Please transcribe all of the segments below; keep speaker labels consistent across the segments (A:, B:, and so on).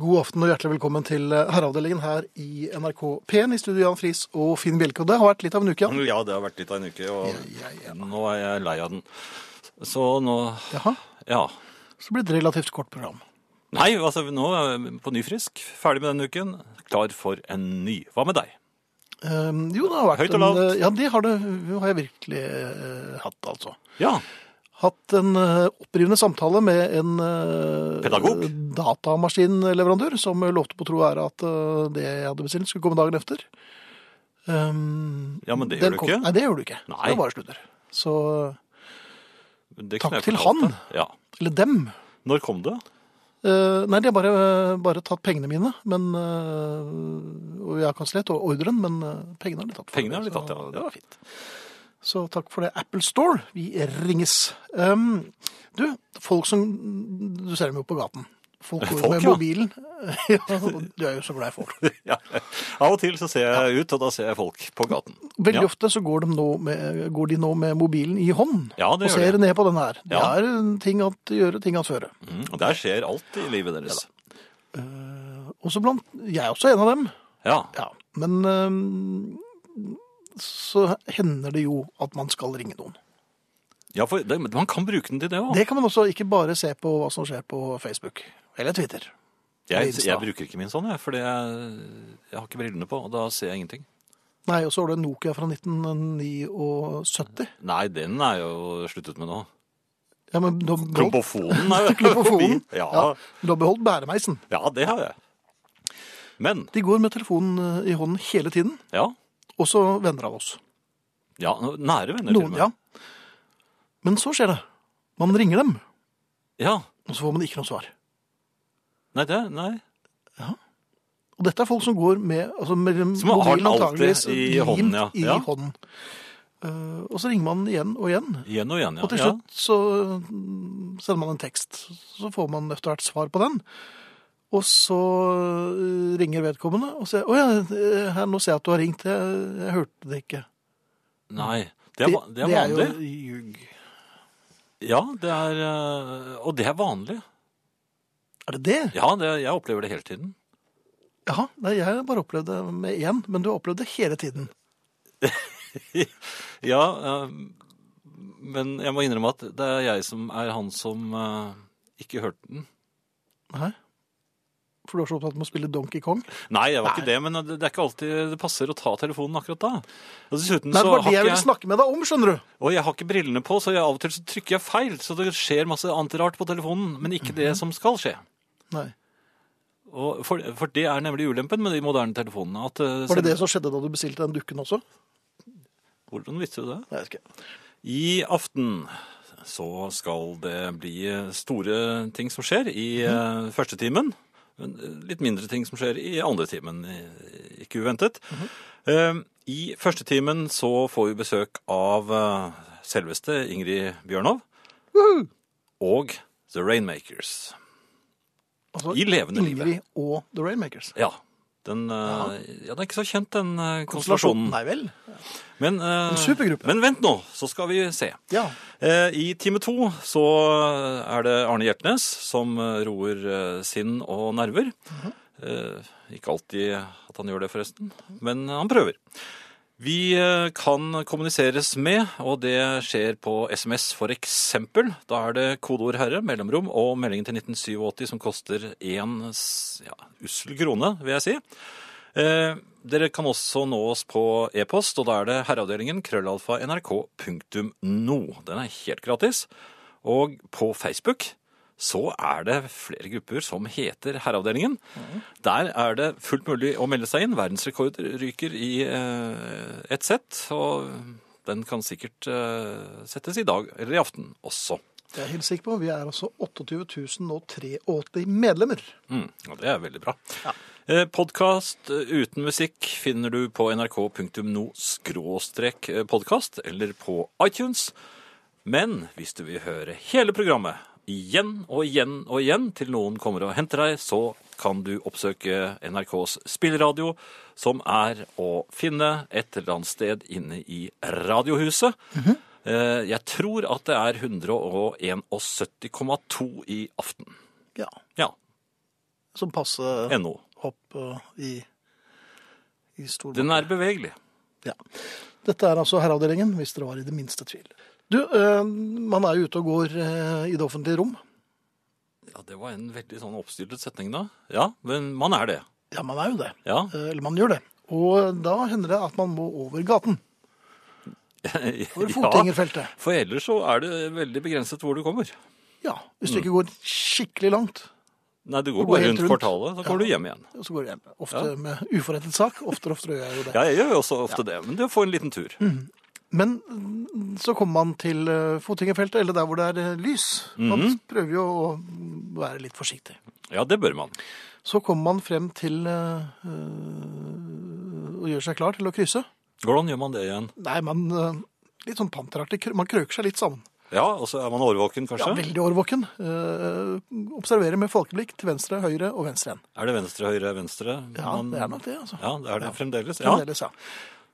A: God aften og hjertelig velkommen til eh, Herreavdelingen her i NRK P1 i studio Jan Friis og Finn Bjelke. Og det har vært litt av en uke, Jan.
B: Ja, det har vært litt av en uke, og
A: Ja, ja,
B: nå er jeg lei av den. Så nå
A: Jaha,
B: Ja.
A: så blir det et relativt kort program.
B: Nei, altså nå er jeg på ny frisk. Ferdig med denne uken. Klar for en ny. Hva med deg?
A: Ehm, jo, det har vært
B: Høyt og lavt.
A: En, eh, ja, det har, det, jo, har jeg virkelig eh, hatt, altså.
B: Ja.
A: Hatt en eh, opprivende samtale med en eh,
B: Pedagog?
A: datamaskinleverandør som eh, lovte på tro og ære at eh, det jeg hadde bestilt, skulle komme dagen efter. Ehm,
B: Ja, men det
A: den
B: gjør du
A: kom-
B: ikke.
A: Nei, det gjør du ikke.
B: Nei.
A: Det var bare slutter. Så,
B: Det
A: Takk
B: kunne jeg
A: til
B: fortalt
A: han.
B: deg. Ja.
A: eller dem,
B: Når kom det?
A: Eh, nei, de har bare, bare tatt pengene mine, men, eh, og jeg har kansellert og ordren, men eh, pengene har de tatt. for
B: Pengene har de
A: meg,
B: tatt,
A: så
B: ja.
A: Det var fint. Så takk for det, Apple Store. Vi ringes. Um, du, folk som Du ser dem jo på gaten. Folk går jo
B: Folk,
A: med
B: ja.
A: mobilen. ja, og du er jo så glad i folk.
B: Ja. Av og til så ser jeg ut, og da ser jeg folk på gaten.
A: Veldig
B: ja.
A: ofte så går de, nå med, går de nå med mobilen i hånd
B: Ja, det
A: og
B: gjør
A: ser
B: de.
A: ned på den her. Det
B: Ja.
A: er ting at gjøre, ting at føre.
B: Mm, og der skjer alt i livet deres.
A: Også Eh, blant Jeg er også en av dem.
B: Ja.
A: Ja, men øhm, så hender det jo at man skal ringe noen.
B: ja, for det, man kan bruke den til det òg.
A: Det kan man også ikke bare se på hva som skjer på Facebook eller Twitter.
B: Jeg,
A: Insta.
B: jeg bruker ikke min sånn, jeg, for det- jeg har ikke brillene på, og da ser jeg ingenting.
A: Nei, og så har du en Nokia fra 1979.
B: Nei, den er jo sluttet med nå.
A: Ja, men du har beholdt,
B: Klombofonen er jo
A: Klombofonen,
B: forbi. Ja,
A: ja, du har beholdt bæremeisen.
B: ja, det har jeg. Men,
A: De går med telefonen øh, i hånden hele tiden,
B: ja,
A: også venner av oss.
B: ja nære venner til og
A: Noen,
B: med.
A: ja. Men så skjer det. Man ringer dem,
B: ja.
A: og så får man ikke noe svar.
B: Nei, det, nei.
A: Og dette er folk som går med, altså med
B: Som har den
A: mobilen
B: alltid
A: antageligvis
B: i
A: limt
B: hånden, ja.
A: i
B: Ja.
A: hånden. Eh, og så ringer man igjen og igjen.
B: Igjen og igjen, ja.
A: Og til
B: Ja.
A: slutt så mm, sender man en tekst. Så får man etter hvert svar på den. Og så eh, ringer vedkommende og sier 'Å ja, eh, her, nå ser jeg at du har ringt. Jeg, jeg hørte det ikke'.
B: Nei, det er, va- det er
A: det
B: vanlig.
A: er jo ljug.
B: Ja, det er øh, Og det er vanlig.
A: Er det det?
B: Ja, det, jeg opplever det hele tiden.
A: Jaha. Nei, jeg har bare opplevd det med én, men du har opplevd det hele tiden.
B: Ja, øhm, men jeg må innrømme at det er jeg som er han som øh, ikke hørte den.
A: Nei? For du er så opptatt med å spille Donkey Kong?
B: Nei, jeg var
A: Nei.
B: ikke det, men det det er ikke alltid det passer å ta telefonen akkurat da. Og dessuten
A: Nei,
B: så
A: det var
B: har
A: det jeg
B: ikke
A: ville
B: jeg,
A: snakke med deg om, skjønner du.
B: og jeg har ikke brillene på, så jeg, av og til så trykker jeg feil, så det skjer masse annet rart på telefonen, men ikke
A: Mhm.
B: det som skal skje.
A: Nei.
B: Og for, for det er nemlig ulempen med de moderne telefonene. At, eh,
A: Var det det
B: selv-
A: som skjedde da du bestilte den dukken også?
B: Hvordan visste du det?
A: Nei, jeg vet ikke.
B: I aften så skal det bli store ting som skjer i
A: Mhm.
B: eh, første timen. men, eh, Litt mindre ting som skjer i andre timen, eh, ikke uventet.
A: Mhm.
B: Eh, I første timen så får vi besøk av eh, selveste Ingrid Bjørnov. Og The Rainmakers.
A: Altså,
B: I levende
A: Ingrid
B: livet.
A: og The Rainmakers.
B: Ja. Den, eh, ja, den er ikke så kjent, den eh,
A: Konstellasjonen.
B: konstellasjonen.
A: Nei vel?
B: Men, eh,
A: En supergruppe.
B: men vent nå, så skal vi se.
A: Ja.
B: Eh, I time to så er det Arne Hjertnes som eh, roer eh, sinn og nerver. Eh, Ikke alltid at han gjør det, forresten, men han prøver. Vi eh, kan kommuniseres med, og det skjer på SMS for eksempel. Da er det kodeord herre, mellomrom og meldingen til 1987 som koster én s- ja, ussel krone, vil jeg si. Eh, dere kan også nå oss på e-post, og da er det herreavdelingen krøllalfa nrk.no. Den er helt gratis. Og på Facebook så er det flere grupper som heter Herreavdelingen. Der er det fullt mulig å melde seg inn. Verdensrekorder ryker i eh, ett sett, og den kan sikkert eh, settes i dag eller i aften også.
A: Det er jeg helt sikker på. Vi er altså 28.083 medlemmer.
B: Mm, ja, det er veldig bra. Eh, Podkast uten musikk finner du på nrk.no-podkast eh, eller på iTunes. Men hvis du vil høre hele programmet igjen og igjen og igjen til noen kommer og henter deg, så kan du oppsøke NRKs spilleradio, som er å finne et eller annet sted inne i Radiohuset. Eh, Jeg tror at det er 171,2 i aften.
A: Ja.
B: Ja.
A: som passe
B: NO.
A: hopp og i, i stol.
B: Den er bevegelig.
A: Ja. Dette er altså herreavdelingen, hvis dere var i det minste tvil. Du, eh, man er jo ute og går eh, i det offentlige rom.
B: Ja, det var en veldig sånn oppstyrtet setning da. Ja, men man er det.
A: Ja, man er jo det.
B: Ja,
A: Eh, Eller man gjør det. Og da hender det at man må over gaten. Over
B: ja.
A: fotgjengerfeltet.
B: For ellers så er det veldig begrenset hvor du kommer.
A: Ja, hvis du ikke går skikkelig langt,
B: Nei, du går
A: Du går
B: bare
A: helt
B: rundt
A: rundt.
B: kvartalet, så
A: Ja.
B: kommer du hjem igjen.
A: så går du hjem. Ofte med uforrettet sak. Oftere og oftere gjør jeg jo det.
B: Ja, jeg gjør jo også ofte det, men det å få en liten tur.
A: Men mm, så kommer man til eh, fotgjengerfeltet, eller der hvor det er eh, lys. Man
B: Mhm.
A: prøver jo å være litt forsiktig.
B: Ja, det bør man.
A: Så kommer man frem til eh, eh, å gjøre seg klar til å krysse.
B: Hvordan gjør man det igjen?
A: Nei, man eh, litt sånn panteraktig. krø- Man krøker seg litt sammen.
B: Ja, og så er man årvåken
A: Ja,
B: kanskje?
A: veldig årvåken. Eh, Observerer med folkeblikk til venstre, høyre og venstre igjen.
B: Er det venstre, høyre, venstre?
A: Ja,
B: Man-
A: det er nok det, altså.
B: Ja, det er det fremdeles. Ja.
A: Fremdeles, ja.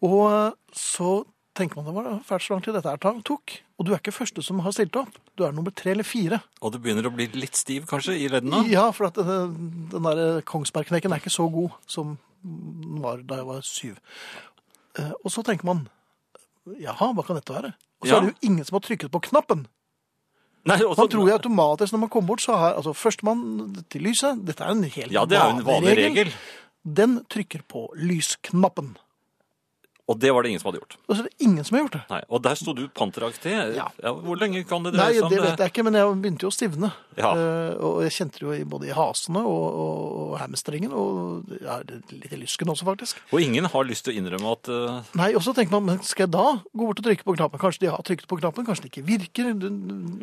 A: Og eh, så tenker man det var fælt så lang tid dette her ta- tok. Og du er ikke første som har stilt opp. Du er nummer tre eller fire.
B: Og du begynner å bli litt stiv kanskje i leddene?
A: Ja, for at eh, den der eh, Kongsbergknekken er ikke så god som den var da jeg var syv. Eh, Og så tenker man jaha, hva kan dette være? Og så
B: Ja.
A: er det jo ingen som har trykket på knappen.
B: Nei, og så-
A: Man tror jo automatisk når man kommer bort, så har altså førstemann til lyset Dette er en helt
B: Ja, det er jo en vanlig regel.
A: Den trykker på lysknappen.
B: Og det var det ingen som hadde gjort.
A: Og så er det ingen som har gjort det.
B: Nei, og der sto du panteraktig. Ja.
A: Ja.
B: hvor lenge kan det
A: Nei,
B: dreie seg om
A: det liksom, eh, vet jeg ikke, men jeg begynte jo å stivne.
B: Ja.
A: Eh, og jeg kjente det jo i- både i hasene og, og, og hamstringen, og ja, litt i lysken også, faktisk.
B: Og ingen har lyst til å innrømme at eh,
A: Nei, og så tenker man, men skal jeg da gå bort og trykke på knappen? Kanskje de har trykket på knappen, kanskje det ikke virker? Du,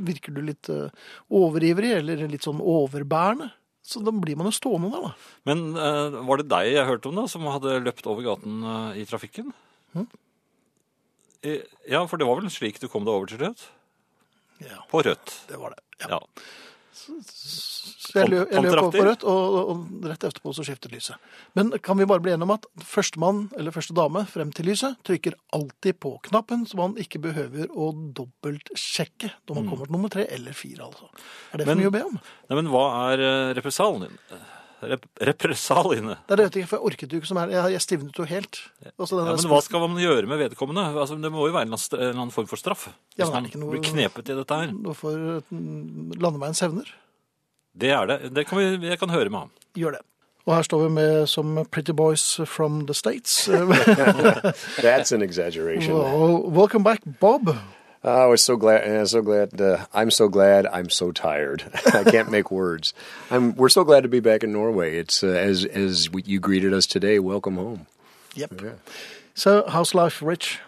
A: virker du litt eh, overivrig, eller litt sånn overbærende? Så da blir man jo stående der, da.
B: Men eh, var det deg jeg hørte om, da, som hadde løpt over gaten eh, i trafikken?
A: Hm?
B: Eh, Ja, for det var vel slik du kom deg over til rødt?
A: Ja,
B: På rødt.
A: det var det. Ja.
B: Ja.
A: Så jeg, lø, jeg løp over
B: Kontrakter.
A: på rødt, og, og, og rett etterpå så skiftet lyset. Men kan vi bare bli enige om at førstemann, eller første dame, frem til lyset, trykker alltid på knappen, så man ikke behøver å dobbeltsjekke når man kommer til nummer tre eller fire, altså. Er det for
B: Mm. Men-
A: mye å be om?
B: Nei, men hva er eh, repressalien din? Eh, Rep repressalien?
A: Det er det jeg vet ikke, for jeg orket jo ikke som her. Jeg, jeg stivnet jo helt. Altså, den
B: Ja,
A: der
B: men hva skal man gjøre med vedkommende? Altså, det må jo være en eller annen st- en eller annen form for straff.
A: Ja, men
B: Hvis
A: er
B: man
A: det ikke noe-
B: blir knepet i dette her.
A: Hvorfor mm, landeveiens hevner?
B: Det er det. Det kan vi, jeg kan høre med ham.
A: Gjør det. Og her står vi med som Pretty Boys from the States.
C: That's an exaggeration.
A: Well, welcome back, Bob.
C: I was so glad. and I'm so glad. Uh, I'm so glad. I'm so tired. I can't make words. I'm, we're so glad to be back in Norway. It's uh, as as you greeted us today. Welcome home.
A: Yep. So, how's life, Rich?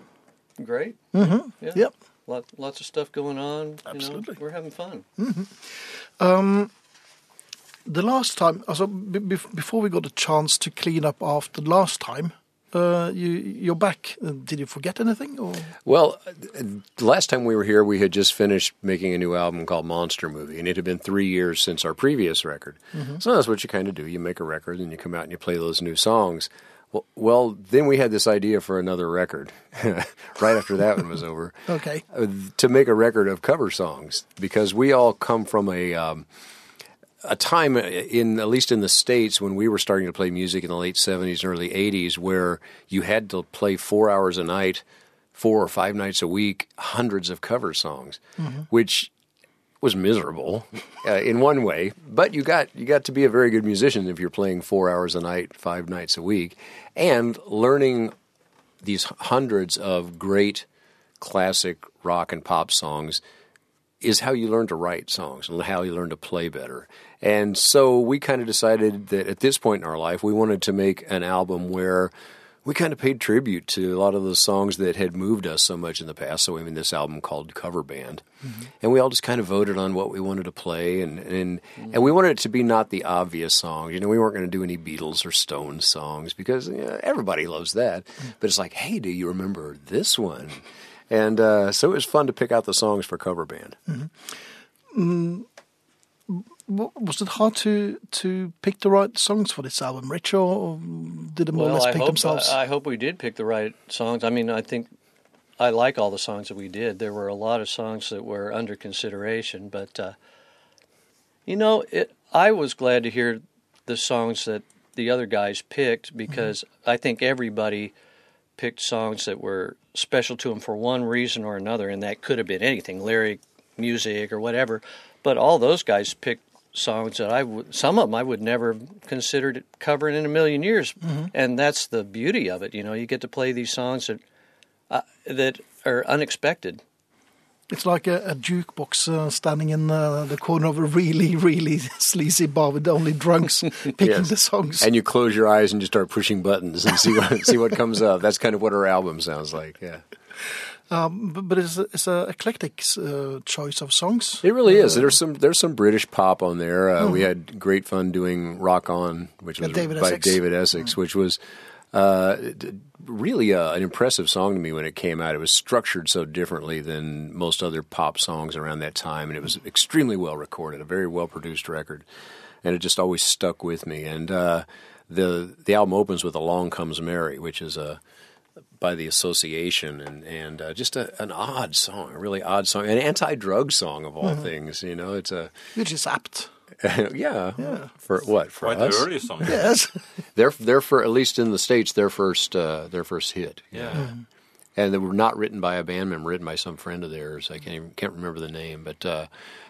D: great. Yeah.
A: Mm-hmm. Yep.
D: Lot, lots of stuff going on.
A: Absolutely. Mm-hmm.
D: You know, we're having fun.
A: The last time, also, be- be- before we got a chance to clean up after last time, uh, you, you're back. Uh, Did you forget anything? Or?
C: Well, uh, the last time we were here, we had just finished making a new album called Monster Movie, and it had been three years since our previous record. So that's what you kind of do. You make a record, and you come out and you play those new songs. Well, well then we had this idea for another record right after that one was over.
A: Okay.
C: uh, to make a record of cover songs because we all come from a um, a time in at least in the states when we were starting to play music in the late 70s and early 80s where you had to play 4 hours a night, 4 or 5 nights a week, hundreds of cover songs, which was miserable uh, in one way, but you got you got to be a very good musician if you're playing 4 hours a night, 5 nights a week and learning these hundreds of great classic rock and pop songs is how you learn to write songs and how you learn to play better. And so we kind of decided that at this point in our life, we wanted to make an album where we kind of paid tribute to a lot of the songs that had moved us so much in the past. So we made this album called Cover Band, and we all just kind of voted on what we wanted to play, and and and we wanted it to be not the obvious song. You know, we weren't going to do any Beatles or Stones songs because you know, everybody loves that. But it's like, hey, do you remember this one? And uh, so it was fun to pick out the songs for cover band.
A: W- Was it hard to, to pick the right songs for this album, Rich, or- or did they more or less
D: I
A: pick
C: uh,
D: hope,
A: themselves?
D: I, I hope we did pick the right songs. I mean, I think I like all the songs that we did. There were a lot of songs that were under consideration, but uh, you know, it. I was glad to hear the songs that the other guys picked because
A: Mm-hmm.
D: I think everybody picked songs that were special to them for one reason or another, and that could have been anything lyric, music, or whatever. But all those guys picked songs that I would, some of them I would never have considered covering in a million years. And that's the beauty of it. You know, you get to play these songs that, uh, that are unexpected.
A: It's like a, a jukebox uh, standing in uh, the corner of a really, really sleazy bar with only drunks picking
C: Yes.
A: the songs.
C: And you close your eyes and just start pushing buttons and see what see what comes up. That's kind of what our album sounds like. Yeah,
A: B- but it's, a- it's a eclectic uh, choice of songs.
C: it really is. There's some there's some British pop on there. Uh, We had great fun doing "Rock On," which was
A: Yeah, David
C: by
A: Essex.
C: David Essex, which was uh, d- really uh, an impressive song to me when it came out. It was structured so differently than most other pop songs around that time, and it was extremely well recorded, a very well produced record, and it just always stuck with me. And uh, the the album opens with "A Long Comes Mary," which is a by the association and and uh, just a, an odd song, a really odd song, an anti-drug song of all things. You know, it's a
A: Which is apt.
C: yeah, for what for
B: Quite
C: us?
B: early song.
A: Yes.
C: They're they're for at least in the states their first uh, their first hit,
B: Yeah.
C: and they were not written by a band member, written by some friend of theirs. I can't even, can't remember the name, but uh,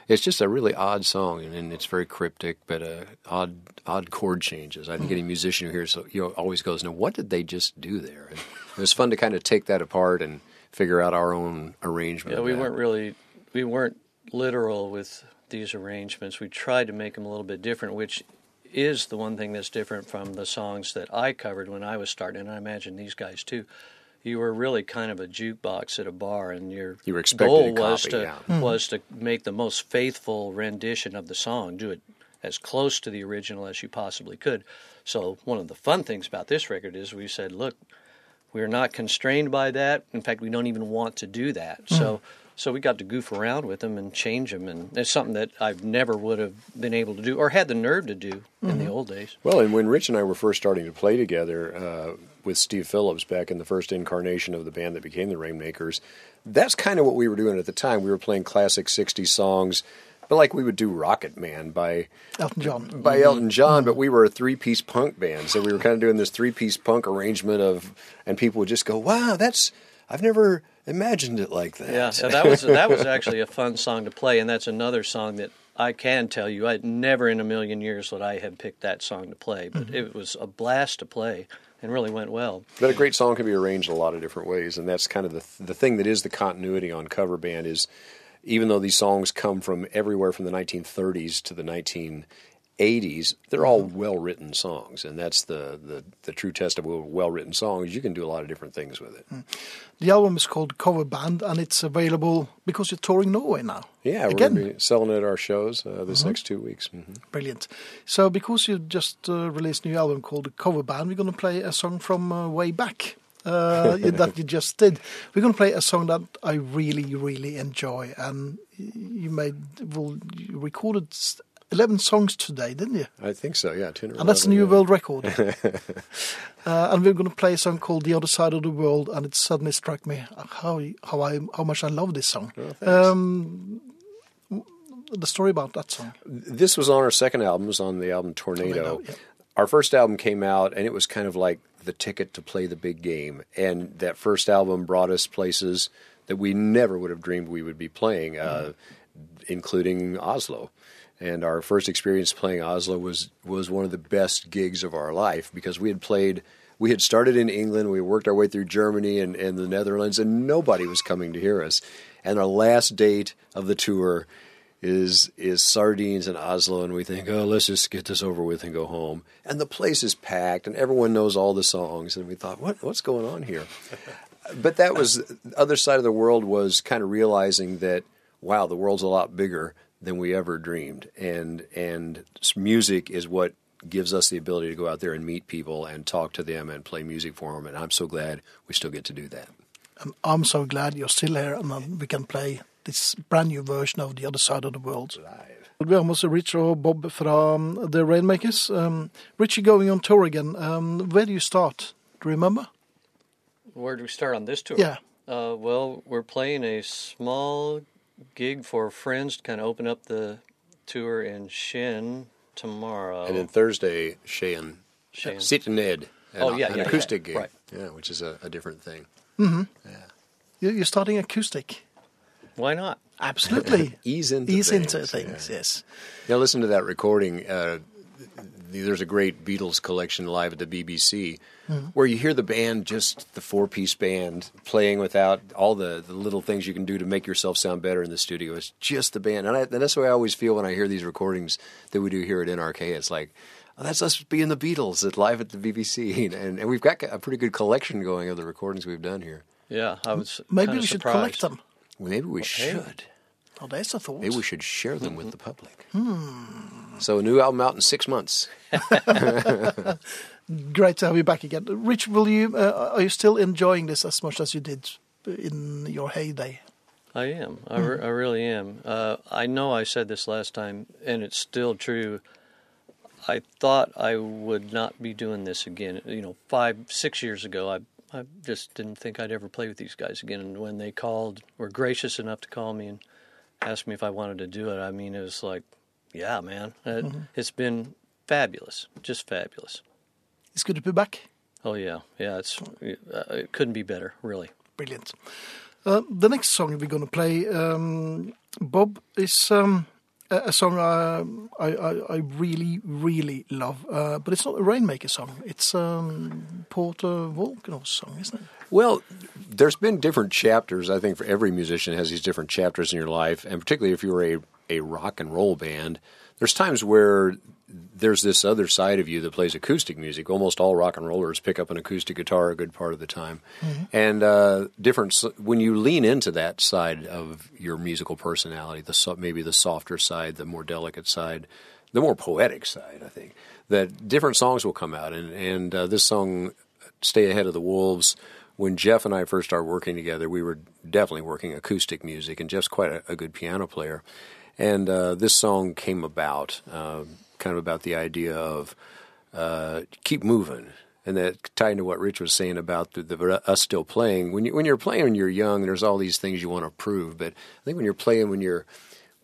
C: it's just a really odd song, and, and it's very cryptic, but uh, odd odd chord changes. I think
D: Mm-hmm.
C: any musician who hears it, you know, always goes, "Now, what did they just do there?" And it was fun to kind of take that apart and figure out our own arrangement.
D: Yeah,
C: of
D: we
C: that.
D: weren't really we weren't literal with these arrangements. We tried to make them a little bit different, which is the one thing that's different from the songs that I covered when I was starting, and I imagine these guys too. You were really kind of a jukebox at a bar, and your
C: You were expected
D: goal
C: to
D: was
C: copy,
D: to
C: yeah.
D: was to make the most faithful rendition of the song, do it as close to the original as you possibly could. So one of the fun things about this record is we said, look, we're not constrained by that. In fact, we don't even want to do that. So, so we got to goof around with them and change them, and it's something that I've never would have been able to do or had the nerve to do in the old days.
C: Well, and when Rich and I were first starting to play together uh, with Steve Phillips back in the first incarnation of the band that became the Rainmakers, that's kind of what we were doing at the time. We were playing classic 60s songs, but like we would do Rocket Man by
A: Elton John.
D: Mm-hmm.
C: by Elton John, but we were a three piece punk band. So we were kind of doing this three piece punk arrangement of, and people would just go, wow, that's, I've never imagined it like that.
D: Yeah, yeah, that was that was actually a fun song to play, and that's another song that I can tell you, I never in a million years would I have picked that song to play,
A: Mm-hmm.
D: but it was a blast to play and really went well.
C: But a great song can be arranged a lot of different ways, and that's kind of the the thing that is the continuity on cover band is, even though these songs come from everywhere from the 1930s to the 1980s, they're all well written songs, and that's the, the the true test of a well written song is you can do a lot of different things with it.
A: Hmm. The album is called Cover Band and it's available because you're touring Norway now.
C: Yeah, we're
A: Again, Uh-huh.
C: gonna be selling it at our shows uh, this next two weeks. hmm
A: brilliant. So because you just uh, released a new album called Cover Band, we're going to play a song from uh, way back uh, that you just did. We're going to play a song that I really, really enjoy. And you made, well, you recorded s- 11 songs today, didn't you?
C: I think so. Yeah, ten or
A: And that's a
C: 11,
A: new
C: yeah.
A: world record. uh, and we're going to play a song called "The Other Side of the World," and it suddenly struck me how how I how much I love this
C: Oh,
A: song. um, the story about that song.
C: this was on our second album. It was on the album Tornado.
A: Tornado, yeah.
C: Our first album came out, and it was kind of like the ticket to play the big game. And that first album brought us places that we never would have dreamed we would be playing, uh, including Oslo. And our first experience playing Oslo was was one of the best gigs of our life because we had played. We had started in England, we worked our way through Germany and, and the Netherlands, and nobody was coming to hear us. And our last date of the tour, is is sardines in Oslo, and we think, oh, let's just get this over with and go home. And the place is packed, and everyone knows all the songs. And we thought, what what's going on here? but that was the other side of the world was kind of realizing that wow, the world's a lot bigger than we ever dreamed, and and s- music is what gives us the ability to go out there and meet people and talk to them and play music for them. And I'm so glad we still get to do that.
A: And I'm so glad you're still here, and then we can play this brand new version of "The Other Side of the World." Vi har med oss Rich og Bob fra um, The Rainmakers. Um, Richie going on tour again. Um, where do you start? Do you remember?
D: Where do we start on this tour?
A: Yeah.
D: Uh, well, we're playing a small gig for friends to kind of open up the tour in Shin, tomorrow.
C: And then Thursday, Cheyenne,
D: Cheyenne.
C: Sit and Ed, an,
D: Oh, yeah,
C: an
D: yeah,
C: acoustic
D: yeah,
C: gig,
D: right.
C: yeah, which is a, a different thing.
A: You- You're starting acoustic.
D: Why not?
A: Absolutely.
C: Ease into
A: Ease
C: things,
A: into things, yes.
C: Now listen to that recording. Uh, th- there's a great Beatles collection live at the BBC, where you hear the band, just the four-piece band, playing without all the, the little things you can do to make yourself sound better in the studio. It's just the band, and, I, and that's the way I always feel when I hear these recordings that we do here at NRK. It's like. Oh, that's us being the Beatles at live at the BBC, and, and we've got a pretty good collection going of the recordings we've done here.
D: Yeah, I was.
A: Maybe
D: kinda
A: we should
D: surprised.
A: collect them.
C: Well, maybe we should.
A: Oh, that's a thought.
C: Maybe we should share them with the public. So, a new album out in six months.
A: Great to have you back again. Rich, will you? Uh, are you still enjoying this as much as you did in your heyday?
D: I am. I, re- I really am. Uh, I know I said this last time, and it's still true. I thought I would not be doing this again. You know, five, six years ago, I, I just didn't think I'd ever play with these guys again. And when they called, were gracious enough to call me and ask me if I wanted to do it, I mean, it was like, yeah, man, it, it's been fabulous, just fabulous.
A: It's good to be back.
D: Oh yeah, yeah, it's it, uh, it couldn't be better, really.
A: Brilliant. Uh, the next song we're going to play, um, Bob, is um, a, a song uh, I, I, I really, really love. Uh, but it's not a Rainmaker song. It's um, Porter Volkanov's song, isn't it?
C: Well, there's been different chapters. I think for every musician has these different chapters in your life, and particularly if you're a a rock and roll band, there's times where there's this other side of you that plays acoustic music. Almost all rock and rollers pick up an acoustic guitar a good part of the time, and uh, different s- when you lean into that side of your musical personality, the so- maybe the softer side, the more delicate side, the more poetic side. I think that different songs will come out, and and uh, this song stay ahead of the wolves. When Jeff and I first started working together, we were definitely working acoustic music, and Jeff's quite a, a good piano player. And uh, this song came about, uh, kind of about the idea of uh, keep moving, and that tied into what Rich was saying about the, the, us still playing. When you when you're playing when you're young, there's all these things you want to prove, but I think when you're playing when you're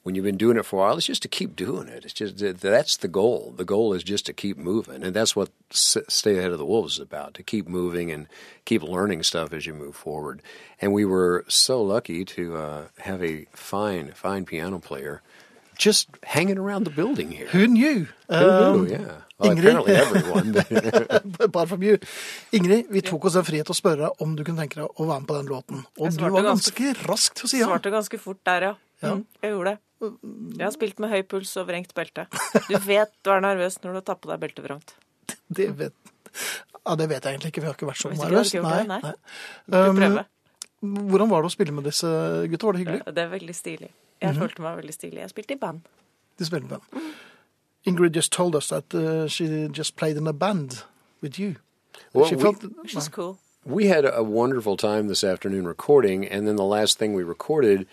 C: when you've been doing it for a while, it's just to keep doing it. It's just that- that's the goal. The goal is just to keep moving, and that's what S- "Stay Ahead of the Wolves" is about: to keep moving and keep learning stuff as you move forward. And we were so lucky to uh, have a fine, fine piano player just hanging around the building here.
A: Who knew?
C: Who knew? Yeah, well,
A: Ingrid?
C: apparently everyone. but-
A: Apart from you. Ingrid, vi tok oss den frihet å spørre deg om du kunne tenke deg å være med på den låten. Og
E: Jeg
A: du
E: svarte
A: var
E: ganske-
A: ganske rask til å si ja.
E: Svarte ganske fort der, ja. Mm, Jeg gjorde det. Jeg har spilt med høy puls og vrengt belte. Du vet du er nervøs når du har tatt på deg beltevrangt.
A: Det vet, ja, det vet jeg egentlig ikke. Vi har ikke vært så
E: Hvis ikke
A: nervøse.
E: hadde ikke gjort det,
A: nei.
E: Du prøver.
A: Um, hvordan var det å spille med disse gutta? Var det Mhm. hyggelig?
E: Det er veldig stilig. Jeg følte meg veldig stilig. Jeg spilte i band.
A: De spiller med band.
E: Mm.
A: Ingrid just told us that uh, she just played in a band with you.
C: Well,
A: she
C: we-
A: felt,
E: Which is cool.
C: we had a wonderful time this afternoon recording, and then the last thing we recorded,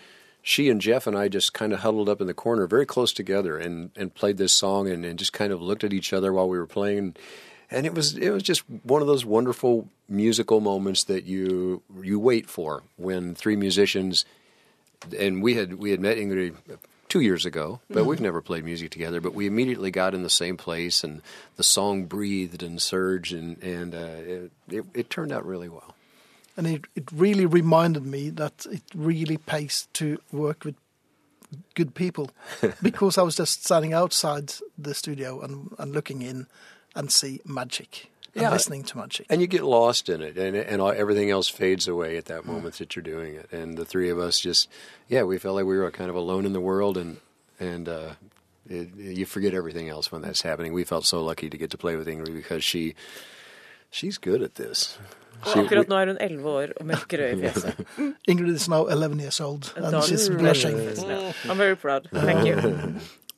C: she and Jeff and I just kind of huddled up in the corner, very close together, and, and played this song and, and just kind of looked at each other while we were playing. And it was it was just one of those wonderful musical moments that you you wait for when three musicians and we had we had met Ingrid two years ago, but we've never played music together. But we immediately got in the same place, and the song breathed and surged, and and uh, it, it it turned out really well.
A: and it, it really reminded me that it really pays to work with good people because I was just standing outside the studio and, and looking in and see magic and
C: Yeah.
A: listening to magic.
C: And you get lost in it, and and all, everything else fades away at that moment that you're doing it. And the three of us just, yeah, we felt like we were kind of alone in the world, and and uh, it, you forget everything else when that's happening. We felt so lucky to get to play with Ingrid because she. She's good at this.
E: Og akkurat nå er hun 11 år og med grøy i fjeset.
A: Ingrid is now 11 years old
E: A
A: and
E: dog
A: she's
E: is
A: blushing.
E: red. I'm very proud. Thank you.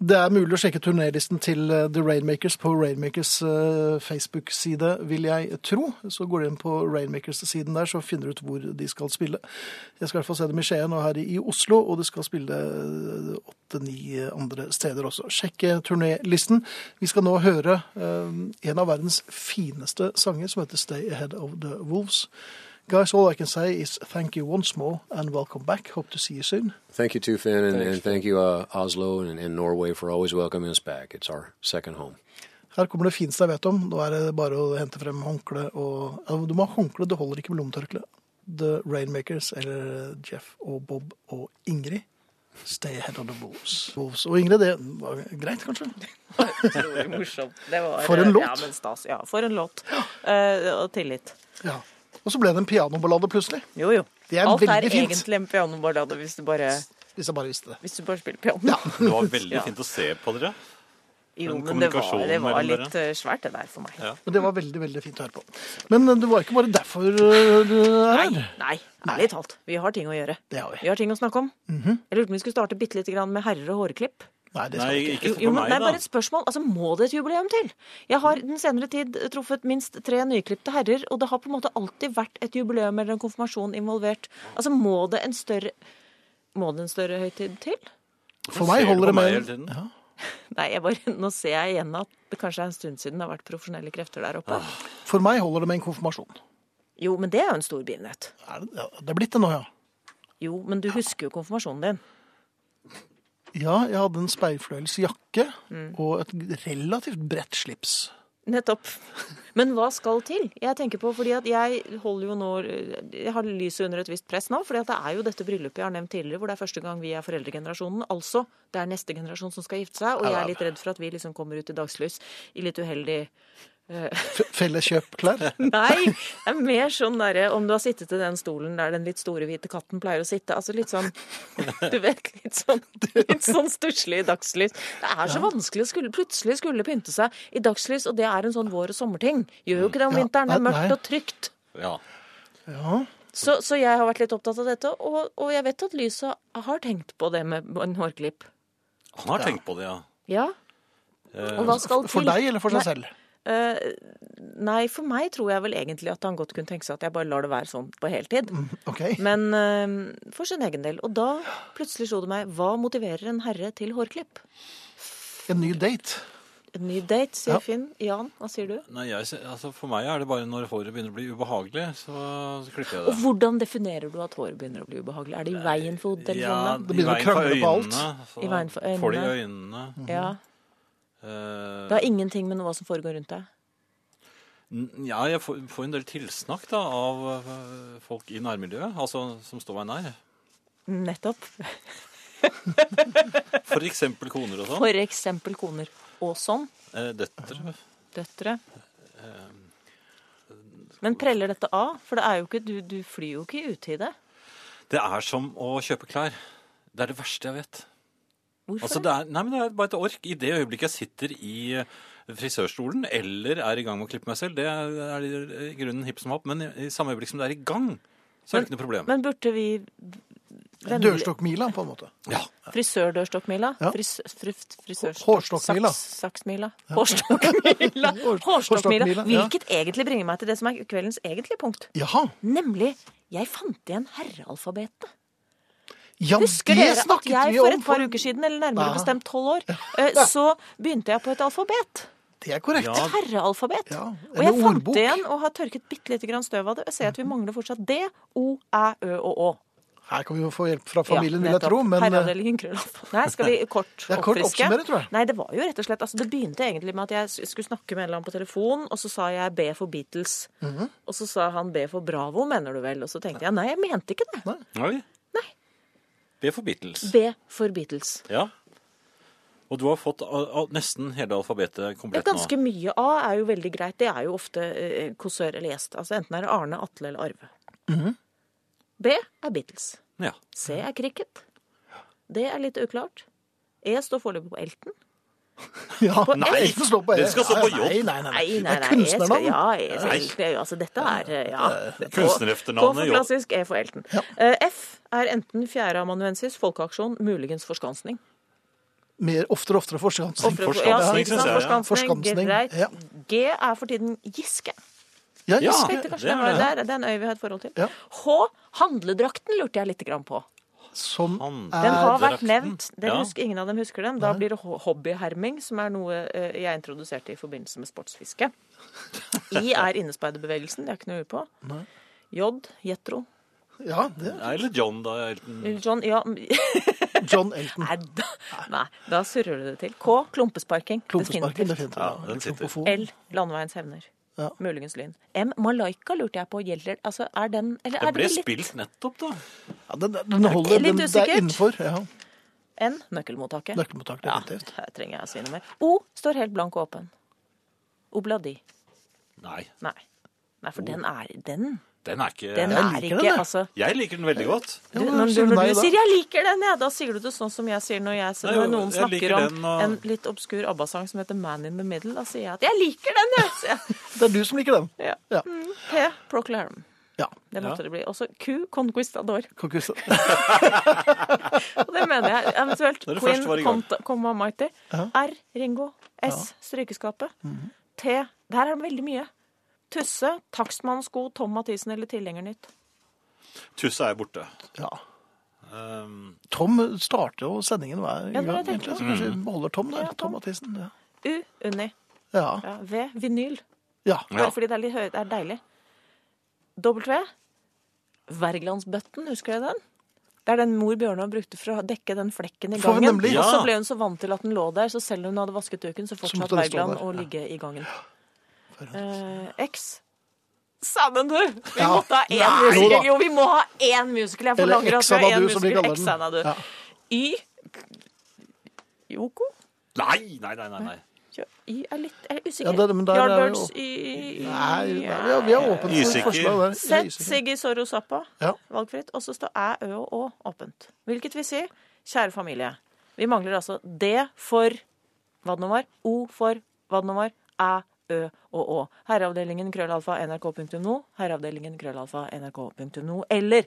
A: Det er mulig å sjekke turnélisten til eh, The Rainmakers på Rainmakers eh, Facebook-side, vil jeg tro. Så går du inn på Rainmakers-siden der, så finner du ut hvor de skal spille. Jeg skal i hvert fall se dem i Skien og her i Oslo, og de skal spille eh, åtte-ni andre steder også. Sjekk eh, turnélisten. Vi skal nå høre eh, en av verdens fineste sanger, som heter Stay Ahead of the Wolves. Guys, all I can say is thank you once more and welcome back. Hope to see you soon.
C: Thank you too, Finn, and,
B: Thanks,
C: and thank you, uh, Oslo and, and Norway, for always welcoming us back. It's our second home.
A: Her kommer det fineste jeg vet om. Nå er det bare å hente frem håndkle og Ja, Du må ha håndkle, det holder ikke med lommetørkle. The Rainmakers eller Jeff og Bob og Ingrid. Stay ahead of the wolves. wolves. Og Ingrid, det var greit, kanskje?
E: Utrolig morsomt. Det var, eh,
A: For en låt.
E: Ja, men stas. Ja, for en låt. Eh, og tillit.
A: Ja. Og så ble det en pianoballade plutselig.
E: Jo, jo.
A: Det er
E: Alt er
A: veldig fint.
E: egentlig en pianoballade hvis du bare,
A: Hvis jeg bare visste det.
E: hvis du bare spiller piano.
B: Det var veldig
E: Ja.
B: fint å se på dere.
E: Jo,
B: Men
E: men det var,
B: kommunikasjonen
E: det var
B: mellom
E: litt eh, svært det der for meg.
B: Ja.
A: Men det var veldig veldig fint å høre på. Men eh, det var ikke bare derfor øh, du er her.
E: Nei, nei, ærlig talt. Vi har ting å gjøre.
A: Det har vi. Mhm.
E: Vi har ting å snakke om. Jeg lurte på om vi skulle starte bitte lite grann med herrer og hårklipp.
A: Nei, det
B: Nei,
A: skal vi ikke.
B: ikke
E: Jo,
B: for
E: men
B: meg,
E: det er bare et
B: da.
E: spørsmål. Altså, Må det et jubileum til? Jeg har den senere tid truffet minst tre nyklipte herrer, og det har på en måte alltid vært et jubileum eller en konfirmasjon involvert. Altså, Må det en større Må det en større høytid til?
A: For meg holder det med
B: med
E: Nei, jeg bare, nå ser jeg igjen at det kanskje er en stund siden det har vært profesjonelle krefter der oppe.
B: Ah.
A: For meg holder det med en konfirmasjon.
E: Jo, men det er jo en stor begivenhet.
A: Er det, ja, det er blitt det nå, ja.
E: Jo, men du husker jo konfirmasjonen din.
A: Ja, jeg hadde en speilfløyelsjakke og et relativt bredt slips.
E: Nettopp. Men hva skal til? Jeg tenker på, fordi at jeg holder jo nå Jeg har lyset under et visst press nå, for det er jo dette bryllupet jeg har nevnt tidligere, hvor det er første gang vi er foreldregenerasjonen. Altså, det er neste generasjon som skal gifte seg, og jeg er litt redd for at vi liksom kommer ut i dagslys i litt uheldig
A: F- Felleskjøpklær.
E: Nei! Det er mer sånn derre om du har sittet i den stolen der den litt store hvite katten pleier å sitte. Altså litt sånn Du vet, litt sånn, litt sånn stusslig i dagslys. Det er så vanskelig å skulle, plutselig skulle pynte seg i dagslys, og det er en sånn vår- og sommerting. Gjør jo ikke det om
A: Ja,
E: vinteren. Det er
A: nei,
E: mørkt
A: nei.
E: og trygt.
B: Ja.
A: Ja.
E: Så, så jeg har vært litt opptatt av dette, og, og jeg vet at lyset har tenkt på det med en hårklipp.
B: Han har tenkt på det, ja.
E: Ja. Og hva skal til?
A: For deg eller for seg selv?
E: Eh, nei, for meg tror jeg vel egentlig at han godt kunne tenke seg at jeg bare lar det være sånn på heltid.
A: OK.
E: Men eh, for sin egen del. Og da plutselig slo det meg hva motiverer en herre til hårklipp?
A: En ny date.
E: En ny date, sier
A: Ja.
E: Finn. Jan, hva sier du?
B: Nei, jeg, sy- altså For meg er det bare når håret begynner å bli ubehagelig, så klipper jeg det.
E: Og hvordan definerer du at håret begynner å bli ubehagelig? Er det i veien for hodet? eller
B: Ja,
E: sånn,
A: Det begynner å
B: i veien for
A: krangle på alt.
B: øynene, så
E: I veien for øynene.
B: Får det i øynene.
E: da? ja.
B: Eh,
E: Det har ingenting med noe som foregår rundt deg?
B: n- ja, jeg får, får en del tilsnakk da av eh, folk i nærmiljøet, altså som står meg nær.
E: Nettopp.
B: For eksempel koner og sånn.
E: For eksempel koner. Og sånn.
B: Eh, Døtre.
E: Døtre. Men preller dette av? For det er jo ikke, du, du flyr jo ikke ut i det.
B: Det er som å kjøpe klær. Det er det verste jeg vet.
E: Hvorfor
B: Altså, det, er, nei, men det er bare et ork. I det øyeblikket jeg sitter i eh, frisørstolen eller er i gang med å klippe meg selv, det er, er i grunnen hipp som happ. Men i, i samme øyeblikk som det er i gang, så er det ikke noe problem.
E: Men burde vi vennlig-
A: Dørstokkmila, på en måte.
B: Ja,
E: Frisørdørstokkmila?
A: Ja.
E: Fris, fris, frisør,
A: Hårstokkmila.
E: Saks, saksmila. Hårstokkmila. Hårstokkmila.
A: Hårstokkmila, ja.
E: Hvilket egentlig bringer meg til det som er kveldens egentlige punkt.
A: Jaha.
E: Nemlig jeg fant igjen herrealfabetet.
A: Ja,
E: Husker
A: det
E: dere at
A: snakket
E: jeg
A: vi
E: for
A: om
E: et par uker siden, eller nærmere
A: Ja.
E: bestemt tolv år, eh, så begynte jeg på et alfabet.
A: Det er korrekt.
B: Ja.
E: Et herrealfabet.
A: Ja,
E: Og jeg
A: eller
E: fant
A: ordbok.
E: det igjen og har tørket bitte lite grann støv av det. Jeg ser at vi mangler fortsatt D, O, Æ, Ø og Å.
A: Her kan vi jo få hjelp fra familien, vil jeg
E: nettopp.
A: tro. Men eh,
E: Herreavdelingen krøllalfa. Nei, skal vi kort
A: Ja, kort
E: oppfriske?
A: oppsummere, tror jeg.
E: Nei, det var jo rett og slett altså, Det begynte egentlig med at jeg s- skulle snakke med en eller annen på telefon, og så sa jeg B for Beatles.
A: Mhm.
E: Og så sa han B for Bravo, mener du vel? Og så tenkte jeg nei, jeg mente ikke det.
B: Nei.
E: Nei.
B: Be for Beatles.
E: B for Beatles.
B: Ja. Og du har fått al- al- nesten hele alfabetet
E: Ja,
B: komplett
E: ganske
B: nå.
E: mye A er jo veldig greit. Det er jo ofte eh, kåsør eller gjest. Altså enten er det Arne, Atle eller Arve.
A: Mhm.
E: B er Beatles.
B: Ja.
E: C er cricket. Det er litt uklart. E står foreløpig på Elten.
A: ja,
E: Nei,
A: Elten slår på E.
B: dere skal stå på
A: Ja, ja,
B: jobb.
A: Nei, nei, nei.
E: Nei, nei,
A: Det er
E: nei, jeg skal,
A: kunstnernavn.
E: ja, jeg, egentlig, altså dette er eh, ja.
B: kunstnerefternavnet,
E: K for
B: jo.
E: klassisk, E for Elten. Eh, F er enten fjerdeamanuensis, folkeaksjon, muligens forskansning.
A: Mer oftere og oftere forskansning.
E: Ofre-
B: forskansning,
E: ja,
B: synes
E: ikke sant,
B: jeg, ja.
E: Forskansning,
A: Forskansning,
E: greit.
A: ja. Ah,
E: G er for tiden Giske.
A: Ja,
B: Ja.
A: Giske.
E: Tenkte kanskje
B: det
E: det,
B: er
E: var,
B: det.
E: der, det er en øy vi har et forhold til.
A: Ja.
E: H handledrakten lurte jeg lite grann på.
A: Som
B: Han-
E: Den
A: er
E: har vært
B: drakten.
E: nevnt. Den
B: Ja.
E: husker, ingen av dem husker den. Da blir det ho- hobbyherming, som er noe eh, jeg introduserte i forbindelse med sportsfiske. I er innespeiderbevegelsen, det er ikke noe å lure på. Jod, Jetro,
A: Ja, det
B: Nei, Eller John, da. Elton.
E: John Ja, nei,
A: John Elton.
E: da, nei, da surrer du det til. K. Klumpesparking.
A: Klumpesparken, det
E: Definitivt.
A: finner
B: Ja, den sitter.
E: L. Landeveiens hevner.
A: Ja.
E: Muligens lyn. M. Malaika lurte jeg på. Gjelder Altså, er den Eller er
B: Den ble
E: det litt
B: spilt nettopp, da.
A: Ja, den, den holder,
E: Litt
A: den, det
E: usikkert.
A: er innenfor. Ja,
E: N? Nøkkelmottaket.
A: Nøkkelmottak,
E: Ja,
A: definitivt.
E: her trenger jeg å si noe mer. O står helt blank og åpen. Obladi.
B: Nei,
E: Nei. Nei, for den er Den,
B: den er ikke
E: den
A: jeg
E: er
A: liker
E: ikke
A: den, jeg.
E: Altså
B: Jeg liker den veldig godt.
E: du,
A: Ja,
E: når,
A: sier
E: du,
A: du nei
E: når du
A: da?
E: sier 'jeg liker den', ja, da sier du det sånn som jeg sier når, jeg,
B: Nei,
E: når
B: jo,
E: noen
B: jeg
E: snakker
B: liker
E: om
B: den, og-
E: en litt obskur ABBA-sang som heter 'Man in the Middle'. Da sier jeg at 'jeg liker den', jeg! sier jeg.
A: Det er du som liker den.
E: Ja.
A: Ja.
E: Mm, P. Proclaim.
A: Ja.
E: Det måtte
B: Ja.
E: det bli. Også Q. Conquistador.
A: Konkursen.
E: Og det mener jeg. Eventuelt
B: Når det
E: Queen,
B: først var i gang.
E: Comta- Comma Mighty. R. Ringo. S. Strykeskapet.
B: Mhm.
E: T. Der er det veldig mye. Tusse, takstmannssko, Tom Mathisen eller Tilhengernytt.
B: Tusse er borte.
A: Ja.
B: Um,
A: Tom starter jo sendingen hver
E: Ja, det
A: gang,
E: var det jeg
A: egentlig.
E: tenkte
A: Så kanskje vi beholder Tom der.
E: Ja, Tom.
A: Tom Mathisen. Ja.
E: U. Unni.
A: Ja.
E: Ja, v. Vinyl.
A: ja.
E: Bare
B: Ja.
E: fordi det er, litt høy, det er deilig. W. Wergelandsbøtten, husker du den? Det er den mor Bjørnov brukte for å dekke den flekken i
A: For
E: gangen.
A: nemlig.
E: Og så
B: Ja.
E: ble hun så vant til at den lå der, så selv om hun hadde vasket duken, så
A: måtte
E: fortsatt
A: den stå
E: Wergeland
A: der.
E: å
A: Ja.
E: ligge i gangen.
A: for en-
E: Eh, X. Sammen, du! Vi
A: Ja.
E: måtte ha én
A: Nei, jo da.
E: musical. Jo, vi må ha én musical. Jeg
A: Eller
E: forlanger at vi har
A: Xanadu,
E: én
A: som de
E: musical.
A: kaller
E: X
A: den.
E: Xanadu.
A: Ja.
E: Y. Yoko?
B: nei, nei, nei, nei, nei.
E: Jo, Y er litt Jeg er
A: Ja,
E: usikker.
A: det- men der er vi
E: Yardbirds
A: jo-
E: Y
A: Nei, nei, ja, vi er åpne for
B: Usikker.
A: forslag der. Ja,
E: Z,
A: usikker.
E: Siggy, Sorro, Zappa.
A: Ja.
E: Valgfritt. Og så står æ, ø og å åpent. Hvilket vil si, kjære familie, vi mangler altså D for hva det nå var, O for hva det nå var, æ, ø og å. Herreavdelingen krøllalfa nrk.no, herreavdelingen krøllalfa nrk.no, eller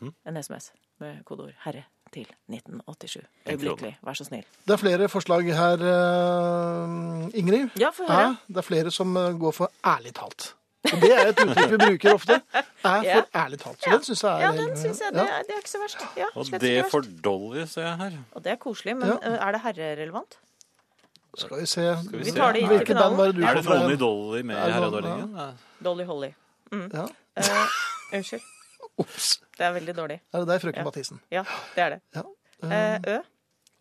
A: Hm?
E: en SMS med kodeord 'herre' til 1987.
B: En krone.
E: Øyeblikkelig, vær så snill.
A: Det er flere forslag her, eh, Ingrid.
E: Ja, få høre.
A: Æ, Det er flere som eh, går for ærlig talt. Og det er et uttrykk vi bruker ofte. Æ
E: Ja.
A: for ærlig talt. Så den syns jeg er
E: Ja, den syns jeg. Det
A: ja.
E: er, det er ikke så verst. Ja,
B: Og
E: slett
B: det
E: ikke
B: for
E: verst.
B: Dolly, ser jeg her.
E: Og det er koselig, men
A: Ja.
E: ø, er det herrerelevant?
A: Skal vi se
B: vi
E: tar det i
A: Hvilke
E: finalen.
A: band var det du
B: Er
A: kom
B: det
A: fra?
B: noen i Dolly med
A: Er det sånn,
B: her?
A: noen,
B: Adorlingen?
E: Dolly Holly.
A: Ja.
E: Eh, unnskyld.
A: Ops.
E: Det er veldig dårlig.
A: Er det deg, frøken
E: Ja.
A: Mathisen?
E: Ja, det er det.
A: Ja.
E: Eh, Ø.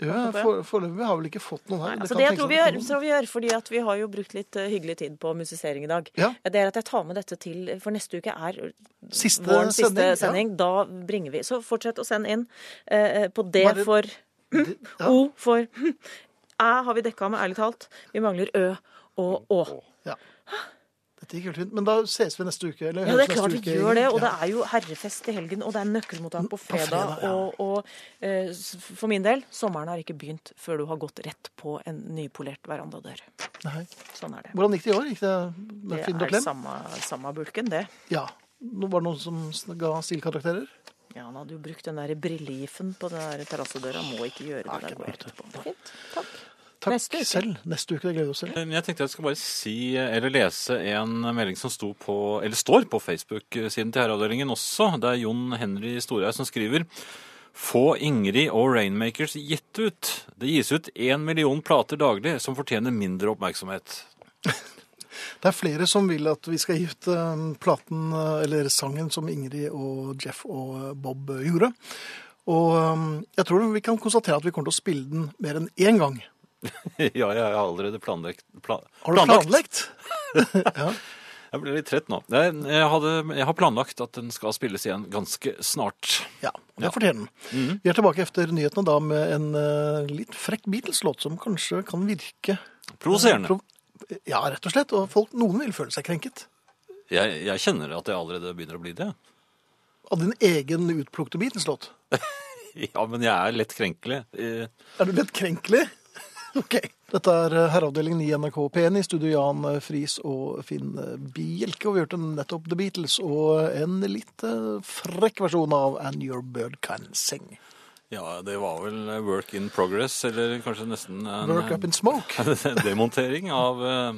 A: Ja, for- Foreløpig har vi vel ikke fått noen her.
E: Altså,
A: kan
E: det jeg
A: tenkes
E: tror
A: at
E: vi,
A: det
E: gjør,
A: kommer noen.
E: tror vi gjør, fordi at vi har jo brukt litt eh, hyggelig tid på musisering i dag, Eh,
A: Ja.
E: det er at jeg tar med dette til For neste uke er
A: Siste
E: vårens siste
A: sending, ja.
E: sending. Da bringer vi Så fortsett å sende inn eh, på D
A: Bare-
E: for
A: Det- ja.
E: O for Æ har vi dekka med, ærlig talt. Vi mangler Ø og Å.
A: Ja. Dette gikk helt fint. Men da ses vi neste uke. Eller
E: Ja, det er
A: høres
E: klart
A: neste
E: vi
A: uke,
E: gjør det. Og det
A: Ingrid.
E: er jo herrefest i helgen, og det er nøkkelmottak på Mm. fredag.
A: fredag, ja.
E: Og, og eh, s- for min del, sommeren har ikke begynt før du har gått rett på en nypolert verandadør.
A: Ja. Nei.
E: Sånn er det.
A: Hvordan gikk det i år? Gikk det med
E: Det
A: Finn og
E: er
A: Klem?
E: samme, samme bulken, det.
A: Ja. Nå var det noen som sn- ga stilkarakterer?
E: Ja, han hadde jo brukt den der brillegifen på den der terrassedøra. Må ikke gjøre det. Der går jeg etterpå. Fint. Takk.
A: Takk
E: Neste uke.
A: selv. Neste uke. Det gleder vi oss til.
B: Men Jeg tenkte jeg skulle bare si, eller lese en melding som sto på, eller står på Facebook-siden til herreavdelingen også. Det er Jon Henry Storhaug som skriver Få Ingrid og Rainmakers gitt ut. Det gis ut én million plater daglig som fortjener mindre oppmerksomhet.
A: Det er flere som vil at vi skal gi ut eh, platen, eh, eller sangen, som Ingrid og Jeff og Bob eh, gjorde. Og eh, jeg tror vi kan konstatere at vi kommer til å spille den mer enn én gang.
B: ja, jeg har allerede planlagt. Pla,
A: Har du planlagt?
B: Jeg ble litt trett nå. Jeg, jeg, hadde, jeg har planlagt at den skal spilles igjen ganske snart.
A: Ja, det fortjener den. Vi er tilbake etter nyhetene da med en eh, litt frekk Beatles-låt som kanskje kan virke
B: Provoserende.
A: Prov- Ja, rett og slett. Og folk, noen vil føle seg krenket
B: Jeg, jeg kjenner at jeg allerede begynner å bli det.
A: av din egen utplukte Beatles-låt.
B: Ja, men jeg er lett krenkelig. Eh,
A: Er du litt krenkelig? OK. Dette er eh, Herreavdelingen i NRK P1 i studio Jan eh, Friis og Finn Bielke. Og vi hørte nettopp The Beatles og en litt eh, frekk versjon av And Your Bird Can Sing.
B: Ja, det var vel work in progress, eller kanskje nesten en
A: Work Up In Smoke.
B: demontering av eh,